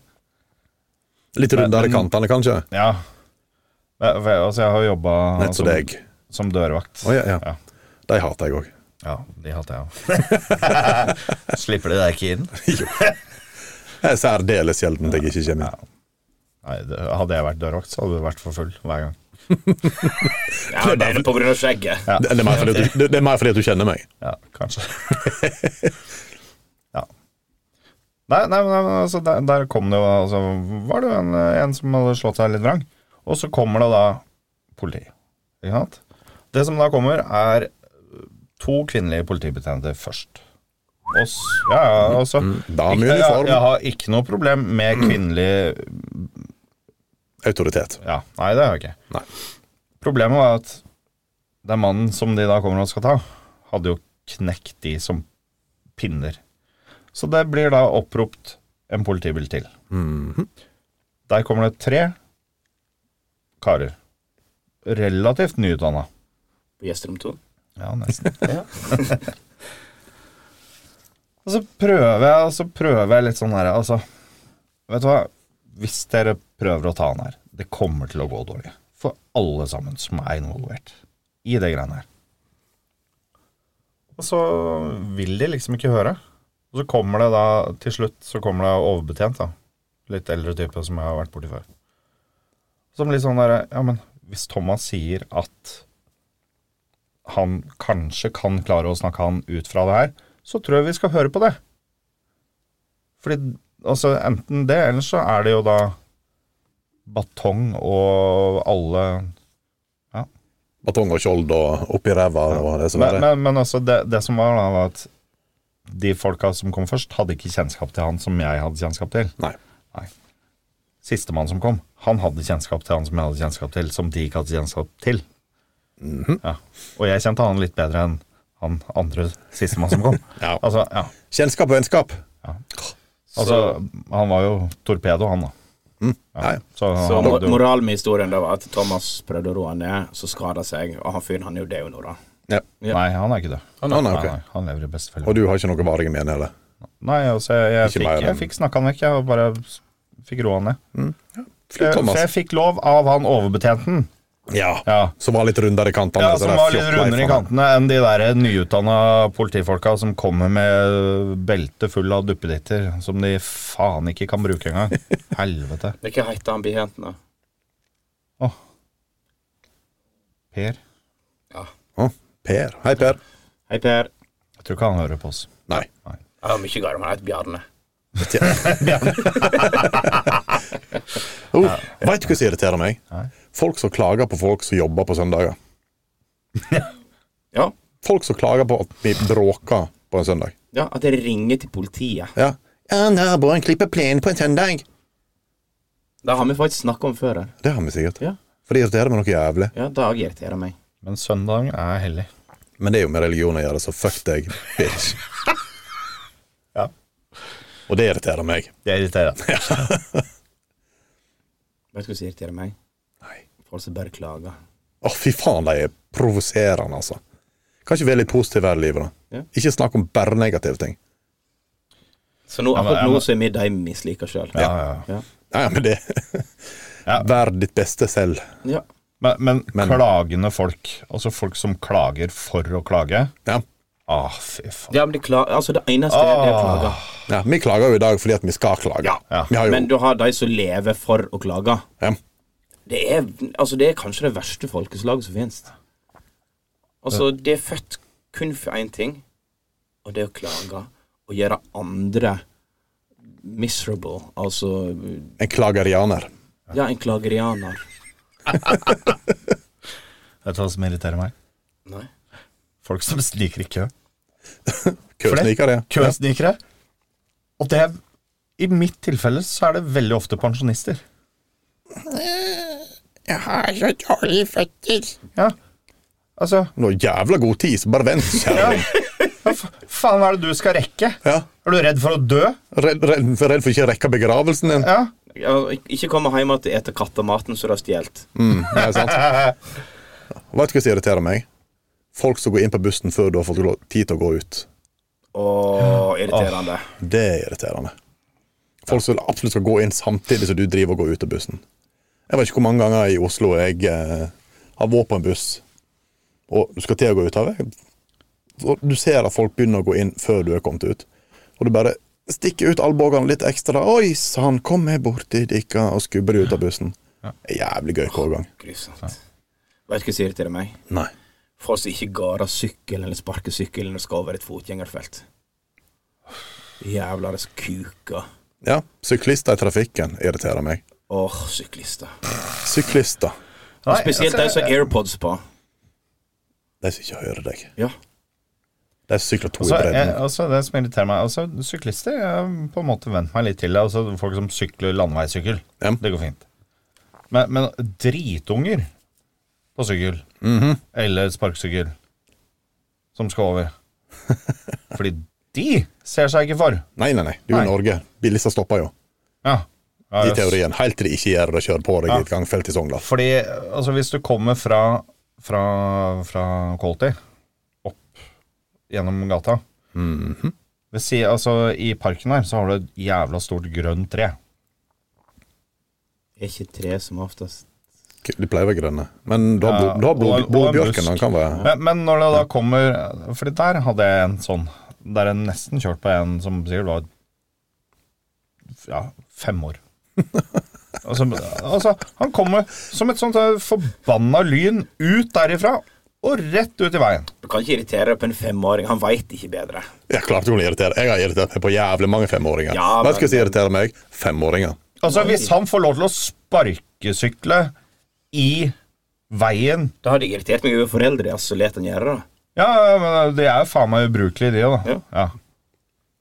C: Litt rundere i kantene, kanskje.
E: Ja. Men, for jeg- Altså, jeg har jobba
C: Nett som deg.
E: som dørvakt.
C: Å, ja, ja.
E: Ja.
C: De hater jeg òg.
E: Ja, de hater jeg òg. Slipper de deg ikke inn?
C: Det er særdeles sjelden jeg ikke kommer inn.
E: Nei, det, Hadde jeg vært dørvakt, så hadde du vært for full hver gang.
B: Ja, det er på grunn av skjegget.
E: Ja,
C: Det, det er mer fordi at du, det er mer fordi at du kjenner meg.
E: ja kanskje. ja. Nei, nei, men men altså, der, der kom det jo altså, Var det jo en, en som hadde slått seg litt vrang? Og så kommer det da politi. Ikke sant? Det som da kommer, er to kvinnelige politibetjente først. Og, s- ja, ja, altså
C: Mm, Dame i
E: jeg, jeg, jeg
C: uniform.
E: har ikke noe problem med kvinnelig
C: Autoritet.
E: Ja, nei, det har jeg ikke.
C: Nei.
E: Problemet var at den mannen som de da kommer og skal ta, hadde jo knekt de som pinner. Så det blir da oppropt en politibil til. Der kommer det tre karer. Relativt nyutdanna.
B: På Gjesterom 2.
E: Ja, nesten. og så prøver jeg, og så prøver jeg litt sånn her, altså Vet du hva? Hvis dere prøver å ta han her, det kommer til å gå dårlig. For alle sammen som er involvert i det greiene her. Og så vil de liksom ikke høre. Og så kommer det da, til slutt, så kommer det overbetjent, da. Litt eldre type som jeg har vært borti før. Som litt sånn derre Ja, men hvis Thomas sier at han kanskje kan klare å snakke han ut fra det her, så tror jeg vi skal høre på det. Fordi altså, enten det, eller så er det jo da batong og alle
C: Batong og skjold og oppi ræva og det som
E: Men,
C: Sånn er.
E: men, men altså, det, det som var da, var at de folka som kom først, hadde ikke kjennskap til han som jeg hadde kjennskap til.
C: Nei.
E: Sistemann som kom, han hadde kjennskap til han som jeg hadde kjennskap til, som de ikke hadde kjennskap til.
C: Mhm.
E: ja. Og jeg kjente han litt bedre enn han andre sistemann som kom.
C: Ja.
E: Altså, ja.
C: Kjennskap og vennskap.
E: altså, han var jo torpedo, han da.
C: Nei.
E: Så,
B: Så
E: han
B: mo-
E: hadde jo
B: moralen med historien da var at Thomas prøvde å roe han ned, så skada seg, og han fyren han er jo død nå, da.
C: Ja.
E: Nei, han er ikke det.
C: Å, nei, ok.
E: Nei, nei, han lever i beste
C: Og
E: følge.
C: du har ikke noe varig men
E: Eh,
C: heller?
E: Nei, altså, jeg, jeg,
C: Ikke
E: fikk,
C: meg,
E: jeg
C: men-
E: fikk snakka han vekk, jeg, og bare s- fikk roa han ned.
C: Flytt,
E: For jeg
C: Thomas.
E: fikk lov av han overbetjenten.
C: Ja.
E: Ja.
C: Som var litt rundere i kantene.
E: Ja,
C: så
E: Som
C: det er
E: var litt
C: fjott
E: rundere i
C: leif av han.
E: kantene enn de der nyutdanna politifolka som kommer med belte full av duppeditter som de faen ikke kan bruke engang. Helvete.
B: Men Hva heter han bihenten, da?
E: Åh. Per.
C: Å, Per. Hei, Per.
B: Hei, Per.
E: Jeg tror ikke han hører på oss.
C: Nei.
D: Jeg har mye galt om han heter Bjarne.
C: Oh, Veit du hva som irriterer meg?
E: Nei.
C: Folk som klager på folk som jobber på søndager.
B: Ja,
C: Folk som klager på at vi bråker på en søndag.
B: ja at jeg ringer til politiet.
C: Ja. Ja, naboen klipper plenen på en søndag.
B: Det har vi faktisk snakka om før her.
C: Det har vi sikkert.
B: Ja.
C: For det irriterer meg noe jævlig.
B: Ja, Dag irriterer meg.
E: Men søndag er hellig.
C: Men det er jo med religion å gjøre, så fuck deg, bitch.
E: Ja.
C: Og det irriterer meg.
E: Det irriterer.
B: Vet du hva som irriterer meg? Folk som bare klager.
C: Å, fy faen, de er provoserende, altså. Kan ikke være litt positiv her i livet, da.
B: Ja.
C: Ikke snakk om bare negative ting.
B: Så nå,
E: Ja, men-
B: akkurat
E: ja,
B: nå
E: men-
B: så er vi de vi misliker sjøl.
E: Ja, ja. ja.
C: Nei, men det
E: Ja.
C: Vær ditt beste selv.
B: Ja.
E: Men, men,
C: Men-
E: klagende folk, altså folk som klager for å klage
C: Ja.
E: Ah, fy faen.
B: ja, men de klager, altså det eneste er det å klage.
E: Ah,
C: ja. Vi klager jo i dag fordi at vi skal klage.
E: Ja.
C: Vi har jo
B: Men du har de som lever for å klage.
C: ja.
B: Det er, altså, det er kanskje det verste folkeslaget som finnes. Altså, det er født kun for én ting, og det er å klage. Og gjøre andre miserable. Altså
C: En klagerianer.
B: Ja, en klagerianer.
E: Vet du hva som irriterer meg?
B: Nei.
E: Folk som sniker i kø.
C: Køsniker, ja.
E: Køsnikere. Og det er I mitt tilfelle så er det veldig ofte pensjonister.
F: Eh, Jeg har så dårlige føtter.
E: Ja. Altså
C: Nå er jævla god tid, så bare vent, kjerring.
E: Hva fa- faen hva er det du skal rekke?
C: Ja.
E: Er du redd for å dø?
C: Redd, redd, redd for ikke å rekke begravelsen din.
E: Ja.
B: Ja, ikke komme hjem igjen og ete kattematen som du har stjålet.
C: Nei, sant? Vet du hva som irriterer meg? Folk som går inn på bussen før du har fått lov- tid til å gå ut.
B: Å, irriterende.
C: Det er irriterende. Folk som absolutt skal gå inn samtidig som du driver og går ut av bussen. Jeg vet ikke hvor mange ganger i Oslo jeg eh, har vært på en buss, og du skal til å gå ut av det. Og du ser at folk begynner å gå inn før du er kommet ut. Og du bare stikker ut albuene litt ekstra. 'Oi sann, kom her borti dikka', og skubber de ut av bussen. Det er jævlig gøy hver gang.
B: Grusomt. Vet du hva som irriterer meg?
C: Nei.
B: Folk som ikke går av sykkel eller sparker sykkel når de skal over et fotgjengerfelt. Jævla kuker.
C: Ja, syklister i trafikken irriterer meg.
B: Åh, syklister.
C: Syklister.
E: Nei,
B: Spesielt de
E: altså,
B: som har AirPods på.
C: De som ikke hører deg.
B: Ja.
C: De som sykler to i
E: altså, jeg,
C: bredden.
E: altså, det som irriterer meg altså, Syklister jeg har på en måte vent meg litt til det. Altså, folk som sykler landeveissykkel.
C: Ja.
E: Det går fint. Men, men dritunger på sykkel,
C: Mhm.
E: eller sparkesykkel, som skal over Fordi de ser seg ikke for.
C: Nei, nei, nei. Du er
E: Nei.
C: i Norge. Bilister stopper jo.
E: Ja. Ja,
C: I
E: jøss.
C: teorien. Helt til de ikke gjør det og kjører på deg
E: Ja.
C: i et gangfelt i Sogndal.
E: Fordi altså, hvis du kommer fra, fra, fra Quality opp gjennom gata
C: Mhm.
E: Ved si, altså, I parken her så har du et jævla stort grønt tre.
B: Er ikke tre som oftest
C: De pleier å være grønne. Men du har,
E: Ja,
C: blod, du har
E: og-
C: blod,
E: og
C: blodbjørken.
E: musk.
C: Den kan være
E: Men, men når det da kommer Fordi der hadde jeg en sånn Der jeg nesten kjørt på en som sikkert var Ja, fem år. Altså, altså, han kommer som et sånt eh, forbanna lyn ut derifra og rett ut i veien.
B: Du kan ikke irritere deg på en femåring. Han veit ikke bedre.
C: Jeg klart du kunne irritere. Jeg har irritert meg på jævlig mange femåringer.
B: Ja,
C: Vet du hva
B: men-
C: som irriterer meg? Femåringer.
E: Altså, hvis han får lov til å sparkesykle i veien
B: Da hadde jeg irritert meg over foreldre. Altså, let han gjøre det.
E: Ja, men de er jo faen meg ubrukelige, de òg, da. Ja.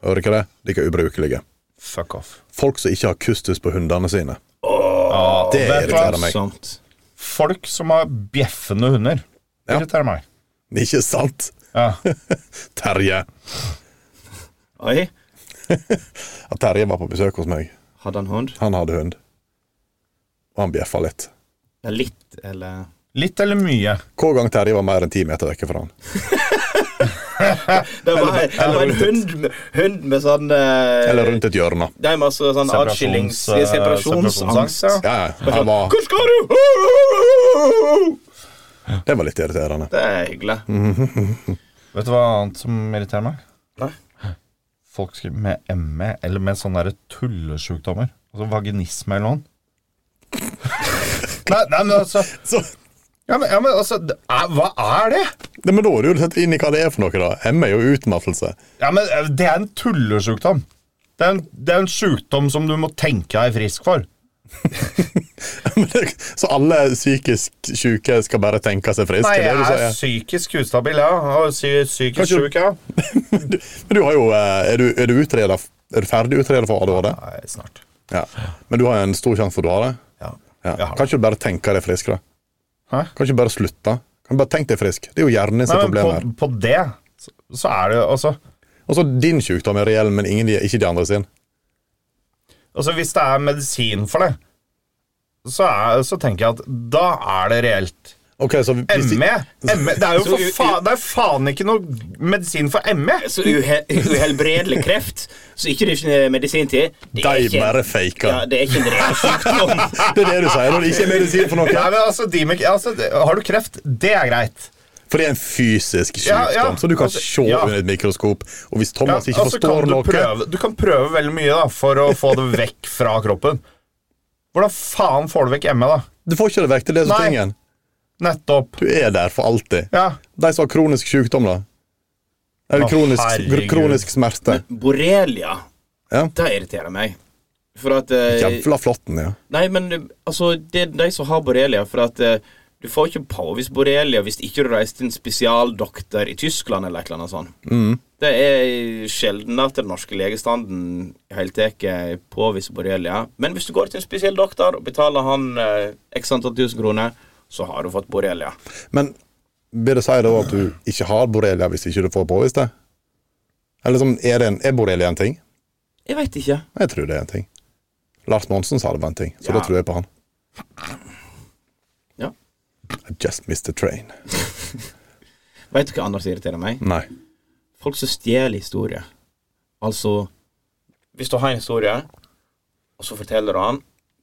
C: Hører du ikke det? De er ubrukelige.
E: Fuck off.
C: Folk som ikke har kustus på hundene sine. det
E: vet du hva?
C: irriterer meg.
B: Sant.
E: Folk som har bjeffende hunder,
C: Ja.
E: irriterer meg.
C: Ikke sant?
E: Ja.
C: Terje.
B: Oi,
C: Ja, Terje var på besøk hos meg.
B: hadde han hund?
C: Han hadde hund. Og han bjeffa litt.
B: Ja, litt, eller
E: Litt eller mye.
C: Hver gang Terje var mer enn ti meter vekke fra han.
B: Det var, det var en hund med, hund med sånn eh,
C: Eller rundt et hjørne.
B: Nei, men altså sånn atskillings...
E: Separasjons- eh,
B: Separasjonsangst.
E: separasjonsangst,
C: Ja, ja, han var,
B: Hvor skal du?
C: det var litt irriterende.
B: Det er hyggelig.
E: Vet du hva annet som irriterer meg?
B: Nei.
E: Folk skriver med ME, eller med sånne der tullesjukdommer. Altså vaginisme eller noe. nei, nei, men altså
C: Så,
E: Ja, men, ja, men altså det er, Hva er det?
C: Nei, men da er du jo sett inn i hva det er for noe, da. M er jo utmattelse.
E: Ja, men eh, Det er en tullesjukdom. Det er en, det er en sjukdom som du må tenke deg frisk for.
C: Men det- Så alle psykisk syke skal bare tenke seg friske?
E: Nei,
C: det
E: jeg
C: er det du
E: er
C: sier?
E: psykisk ustabil, ja. Og psy- psykisk
C: Kanskje-
E: sjuk, ja.
C: Men du- Men du har jo eh, Er du, er du utreda Er du ferdig utreda for ADHD?
E: Nei, snart.
C: Ja. Men du har en stor sjanse for at du har det?
E: Ja.
C: Ja.
E: Jeg har
C: Kan ikke du bare tenke deg frisk, da?
E: Hæ?
C: Kan ikke du bare slutte? Kan du bare tenke deg frisk? Det er jo hjernen
E: Nei,
C: sitt
E: men
C: problem her.
E: på, på det så, så er det altså
C: Og så din sykdom er reell, men ingen, ikke de andre sin.
E: Altså, hvis det er medisin for det, så, er, så tenker jeg at da er det reelt.
C: Ok, så hvis de-
E: ME? ME E, det er jo
B: Så
E: for
B: u-
E: faen Det er faen ikke noe medisin for E. ME!
B: Så uhe- uhelbredelig kreft, så ikke det er ikke medisin til Det
C: De
B: ikke-
C: bare faker.
B: Ja, det er ikke en reell sykdom.
C: Det er det du sier når det ikke er medisin for
E: Nei,
C: noe.
E: men altså, de med, altså, det- Har du kreft, det er greit.
C: For det er en fysisk
E: Ja,
C: sykdom,
E: ja.
C: så du kan
E: Altså,
C: se
E: ja.
C: under et mikroskop. Og hvis
E: Ja,
C: Thomas ikke
E: altså,
C: forstår
E: kan du,
C: noe
E: prøve, du kan prøve veldig mye da for å få det vekk fra kroppen. Hvordan faen får du vekk ME, da?
C: Du får ikke det vekk til det som
E: Nei.
C: tingen.
E: Nettopp.
C: Du er der for alltid.
E: Ja.
C: De som har kronisk sykdom, da. Eller
E: Å,
C: kronisk,
E: herregud.
C: kronisk smerte.
B: Borrelia,
C: Ja.
B: det irriterer meg. For at eh,
C: Jævla flotten, ja.
B: Nei, men eh, altså, det er de som har borrelia, for at eh, du får ikke påvist borrelia hvis ikke du reiser til en spesialdoktor i Tyskland eller et eller annet sånt.
C: Mm.
B: Det er sjelden at den norske legestanden i hele tatt påviser borrelia. Men hvis du går til en spesiell doktor og betaler han eh, x antall tusen kroner, så har du fått borrelia.
C: Men vil det si da at du ikke har borrelia hvis ikke du får påvist det? Eller sånn, er, det en, er borrelia en ting?
B: Jeg veit ikke.
C: Jeg tror det er en ting. Lars Monsen sa det var en ting, så
B: Ja.
C: da tror jeg på han.
B: Ja.
C: I just missed the train.
B: Veit du hva annet som irriterer meg?
C: Nei.
B: Folk som stjeler historier. Altså Hvis du har en historie, og så forteller du den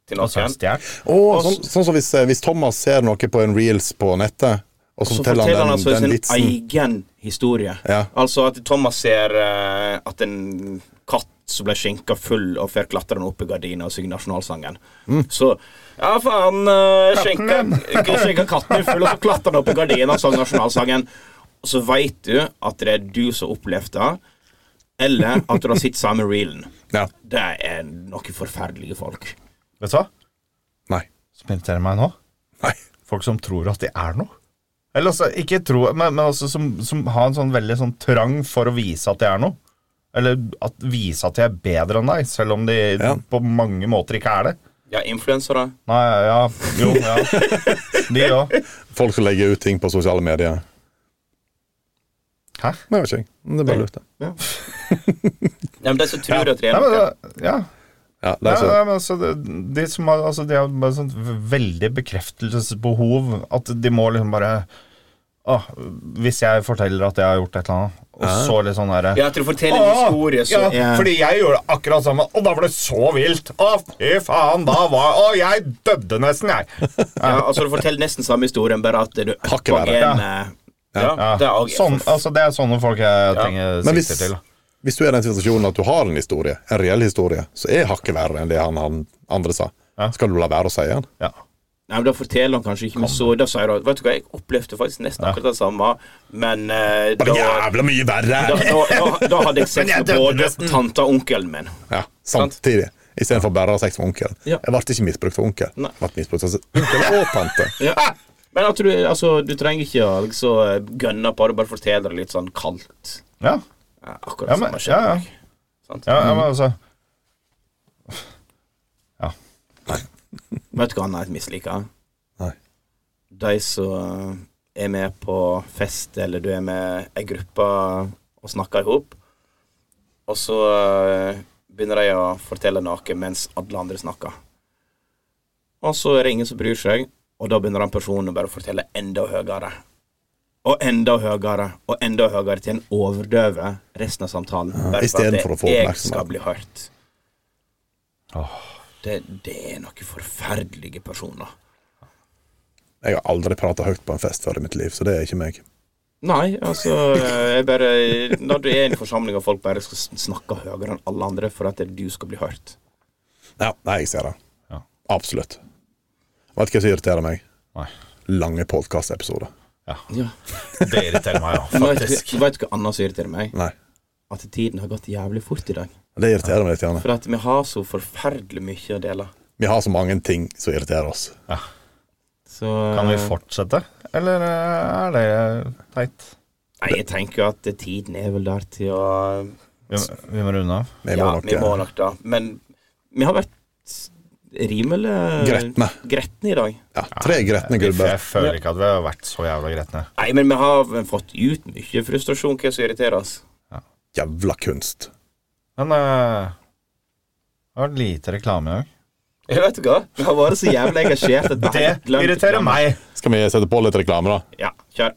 B: til noen
C: Og sånn, sånn som hvis, eh, hvis Thomas ser noe på en reels på nettet, og så,
B: Så
C: forteller han den,
B: altså
C: den
B: sin
C: vitsen
B: egen historie.
C: Ja.
B: Altså at Thomas ser eh, at en katt som ble skjenka full, og får klatre den opp i gardina og synge nasjonalsangen.
C: Mm.
B: Så Ja, faen, uh, skjenka, skjenka katten din full, og så klatra den opp i gardina og sang nasjonalsangen. Og så veit du at det er du som opplevde det, eller at du har sett samme reelen.
C: Ja.
B: Det er noen forferdelige folk.
E: Vet du hva
C: Nei.
E: som irriterer meg nå?
C: Nei.
E: folk som tror at de er noe. Eller altså, ikke tro, men, men altså som, som har en sånn veldig sånn trang for å vise at de er noe. Eller at, vise at de er bedre enn deg, selv om de
C: Ja.
E: på mange måter ikke er det.
B: Ja, influensere.
E: Nei, ja, jo, ja. De òg.
C: Folk som legger ut ting på sosiale medier.
E: Hæ?
C: Nei, jeg vet ikke. Det er bare lurt, det.
B: Ja, men de som tror at det
E: Nei,
B: er
E: men,
B: noe.
E: det- ja.
C: Ja, det
E: Nei,
C: er så,
E: nei, men altså, det, de som har altså, De har bare sånt veldig bekreftelsesbehov. At de må liksom bare Å, hvis jeg forteller at jeg har gjort et eller annet, og så litt sånn derre
B: Ja, at du forteller en historie, så
E: ja,
B: er-
E: Fordi jeg gjorde akkurat samme, og da ble det så vilt. Å, fy faen, da var Å, jeg døde nesten, jeg.
B: Ja, altså Du forteller nesten samme historien, bare at du
C: Hakket verre.
B: Ja.
E: Ja.
B: Ja, det er også-
E: sånn, altså, det er sånne folk jeg trenger
C: Men
E: sikter
C: hvis,
E: til. da.
C: hvis du er i den situasjonen at du har en historie, en reell historie, så er hakket verre enn det han, han andre sa. Skal du la være å si den?
E: Ja.
B: Nei, men Da forteller han kanskje ikke, men så da sier han Vet du hva, jeg opplevde faktisk nesten akkurat det samme, men eh,
C: Bare
B: da,
C: jævla mye verre!
B: da, da, da, da hadde jeg sex
C: Men jeg
B: med
C: døde
B: både
C: nesten.
B: tanta og onkelen min.
C: Ja, samtidig. Istedenfor bare å ha sex med onkelen.
B: Ja.
C: Jeg ble ikke misbrukt av onkel.
B: Nei.
C: Jeg ble misbrukt av onkel og tante.
B: Ja. Men at du, altså, du trenger ikke å liksom, gønne på det, bare fortell det litt sånn kaldt. Ja,
E: Ja, ja,
B: akkurat samme
E: men, ja,
B: skjer.
E: ja.
B: Sant?
E: ja, ja men altså
B: Vet du hva annet jeg misliker?
C: Nei.
B: De som er med på fest, eller du er med ei gruppe og snakker i hop, og så eh, begynner de å fortelle noe mens alle andre snakker. Og så er det ingen som bryr seg, og da begynner den personen å bare fortelle enda høyere. Og enda høyere, og enda høyere til en overdøver resten av samtalen. bare
C: i
B: for at
C: stedet for å få
B: jeg
C: oppmerksomhet.
B: skal bli hørt. Det, det er noen forferdelige personer.
C: Jeg har aldri prata høyt på en fest før i mitt liv, så det er ikke meg.
B: Nei, altså jeg bare, Når du er i en forsamling og folk bare skal sn- snakke høyere enn alle andre for at du skal bli hørt
C: Ja, nei, jeg ser det.
E: Ja.
C: Absolutt. Vet du hva som irriterer meg?
E: Nei.
C: Lange podkastepisoder.
B: ja.
E: Det irriterer meg, ja.
B: Vet
E: Faktisk.
B: du vet du hva annet som irriterer meg?
C: Nei.
B: At tiden har gått jævlig fort i dag.
C: Det irriterer meg litt. Janne.
B: For at vi har så forferdelig mye å dele.
C: Vi har så mange ting som irriterer oss.
B: Så
E: Kan vi fortsette, eller eh, er det teit?
B: Nei, jeg tenker jo at tiden er vel der til å
E: Vi, vi må runde av.
C: Vi
B: Ja,
C: må nok
B: vi må
C: eh,
B: nok da. Men vi har vært rimelig
C: Gretne.
B: gretne i dag.
C: ja, Tre gretne
E: Jeg,
C: gubber.
E: jeg føler ikke at vi har vært så jævla gretne.
B: Nei, men vi har fått ut mye frustrasjon, hva som irriterer oss.
C: Jævla kunst.
E: Men eh, det har vært lite reklame i dag.
B: Jeg vet ikke hva. Vi har vært så jævlig engasjert. at vi har helt glemt å glemme.
C: Skal vi sette på litt reklame, da?
B: Ja, kjør.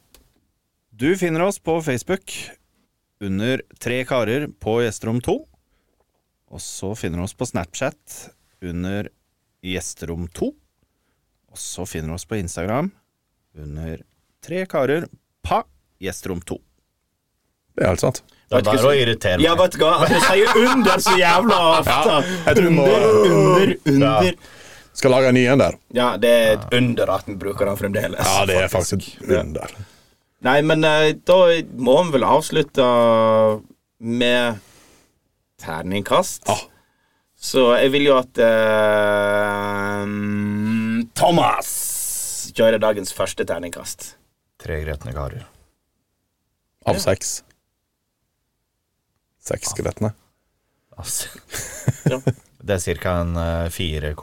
G: Du finner oss på Facebook under Tre karer på Gjesterom 2. Og så finner du oss på Snapchat under Gjesterom 2. Og så finner du oss på Instagram under Tre karer pa Gjesterom 2.
C: Det er helt sant.
E: Det er der å irritere meg.
B: Ja, vet du hva? Han sier under så jævla ofte.
C: Jeg tror vi må,
B: Under, under.
C: skal lage en ny en der.
B: Ja, det er et under at vi bruker den fremdeles.
C: Ja, det er faktisk under.
B: Nei, men eh, da må vi vel avslutte med terningkast.
C: Ja.
B: Så jeg vil jo at eh, Thomas kjører dagens første terningkast.
E: Tre gretne karer.
C: Av seks. Seks skelettene.
E: Altså.
B: Ja.
E: Det er ca. en eh, 4,12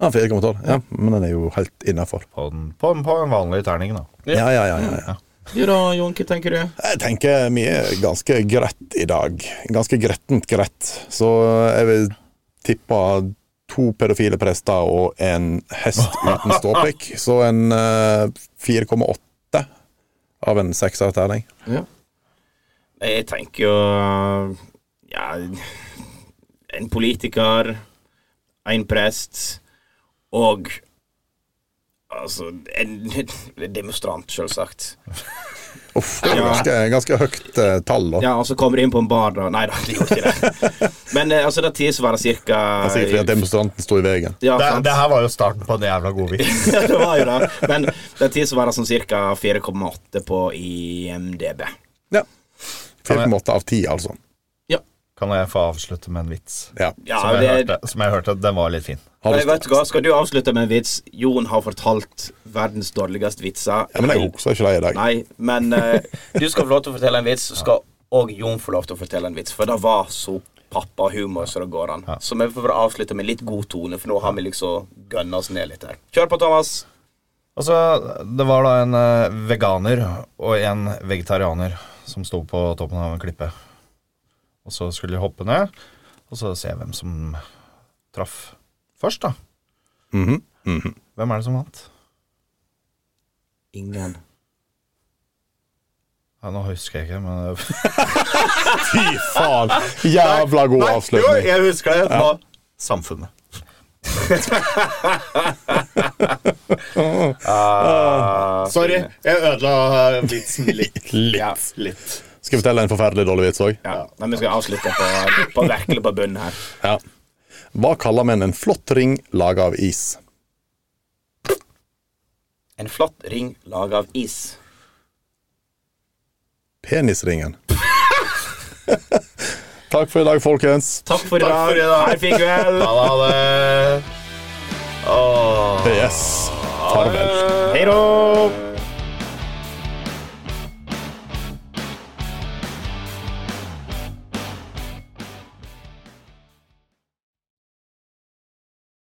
C: Ja, 4,12. Ja, men den er jo helt innafor.
E: på, den- på, en- på en vanlig terning, da.
C: Ja, ja, ja, ja, ja.
B: Jo da, Jon, hva tenker du?
C: Jeg tenker vi er ganske greit i dag. Ganske grettent greit. Så jeg vil tippe to pedofile prester og en hest uten ståpikk. Så en eh, 4,8 av en sekserterning.
B: Ja. Nei, Jeg tenker jo Ja En politiker, en prest og Altså En demonstrant, selvsagt.
C: Uff, det er jo
B: Ja.
C: ganske, ganske høyt eh, tall, da.
B: Ja, og så kommer de inn på en bar, da. Nei da, de gjorde ikke det. Men eh, altså, det tilsvarer ca.
C: Det er Sikkert fordi at demonstranten sto i veien.
B: Ja,
E: Det,
B: sant?
E: det her var jo starten på en jævla god vits.
B: Ja, det var jo det. Men det tilsvarer sånn ca. 4,8 på IMDb.
C: Ja. 4,8 av 10, altså.
E: Kan jeg få avslutte med en vits?
C: Ja.
B: Ja,
E: som, jeg
B: det,
E: hørte, som jeg hørte, den var litt fin.
C: Har
B: Nei,
C: du
B: vet du hva? Skal du avslutte med en vits? Jon har fortalt verdens dårligste vitser.
C: Ja, men jeg husker ikke det i dag.
B: Nei, men eh, du skal få lov til å fortelle en vits, så skal òg Jon få lov til å fortelle en vits. For det var så pappahumor som det går an. Så vi får bare avslutte med litt god tone, for nå har vi liksom gønna oss ned litt her. Kjør på, Thomas.
E: Altså, det var da en eh, veganer og en vegetarianer som sto på toppen av en klippe. Og så skulle de hoppe ned, og så se hvem som traff først, da.
B: Mhm,
E: Hvem er det som vant?
B: Ingen.
E: Ja, nå husker jeg ikke, men
C: Fy faen! Jævla god avslutning.
E: jeg husker det. Ja. Samfunnet. Sorry, jeg ødela uh, vitsen litt.
B: Ja.
E: litt.
C: Skal jeg fortelle en forferdelig dårlig vits òg?
B: ja. Nei, vi skal avslutte på, på virkelig på bunnen her.
C: Hva kaller menn en flott ring laga av is?
B: En flatt ring laga av is.
C: Penisringen. Takk for i dag, folkens.
B: Takk for i dag. Her fikk vi vel.
E: Ha det. Åh.
C: Yes. Farvel.
B: Hei då.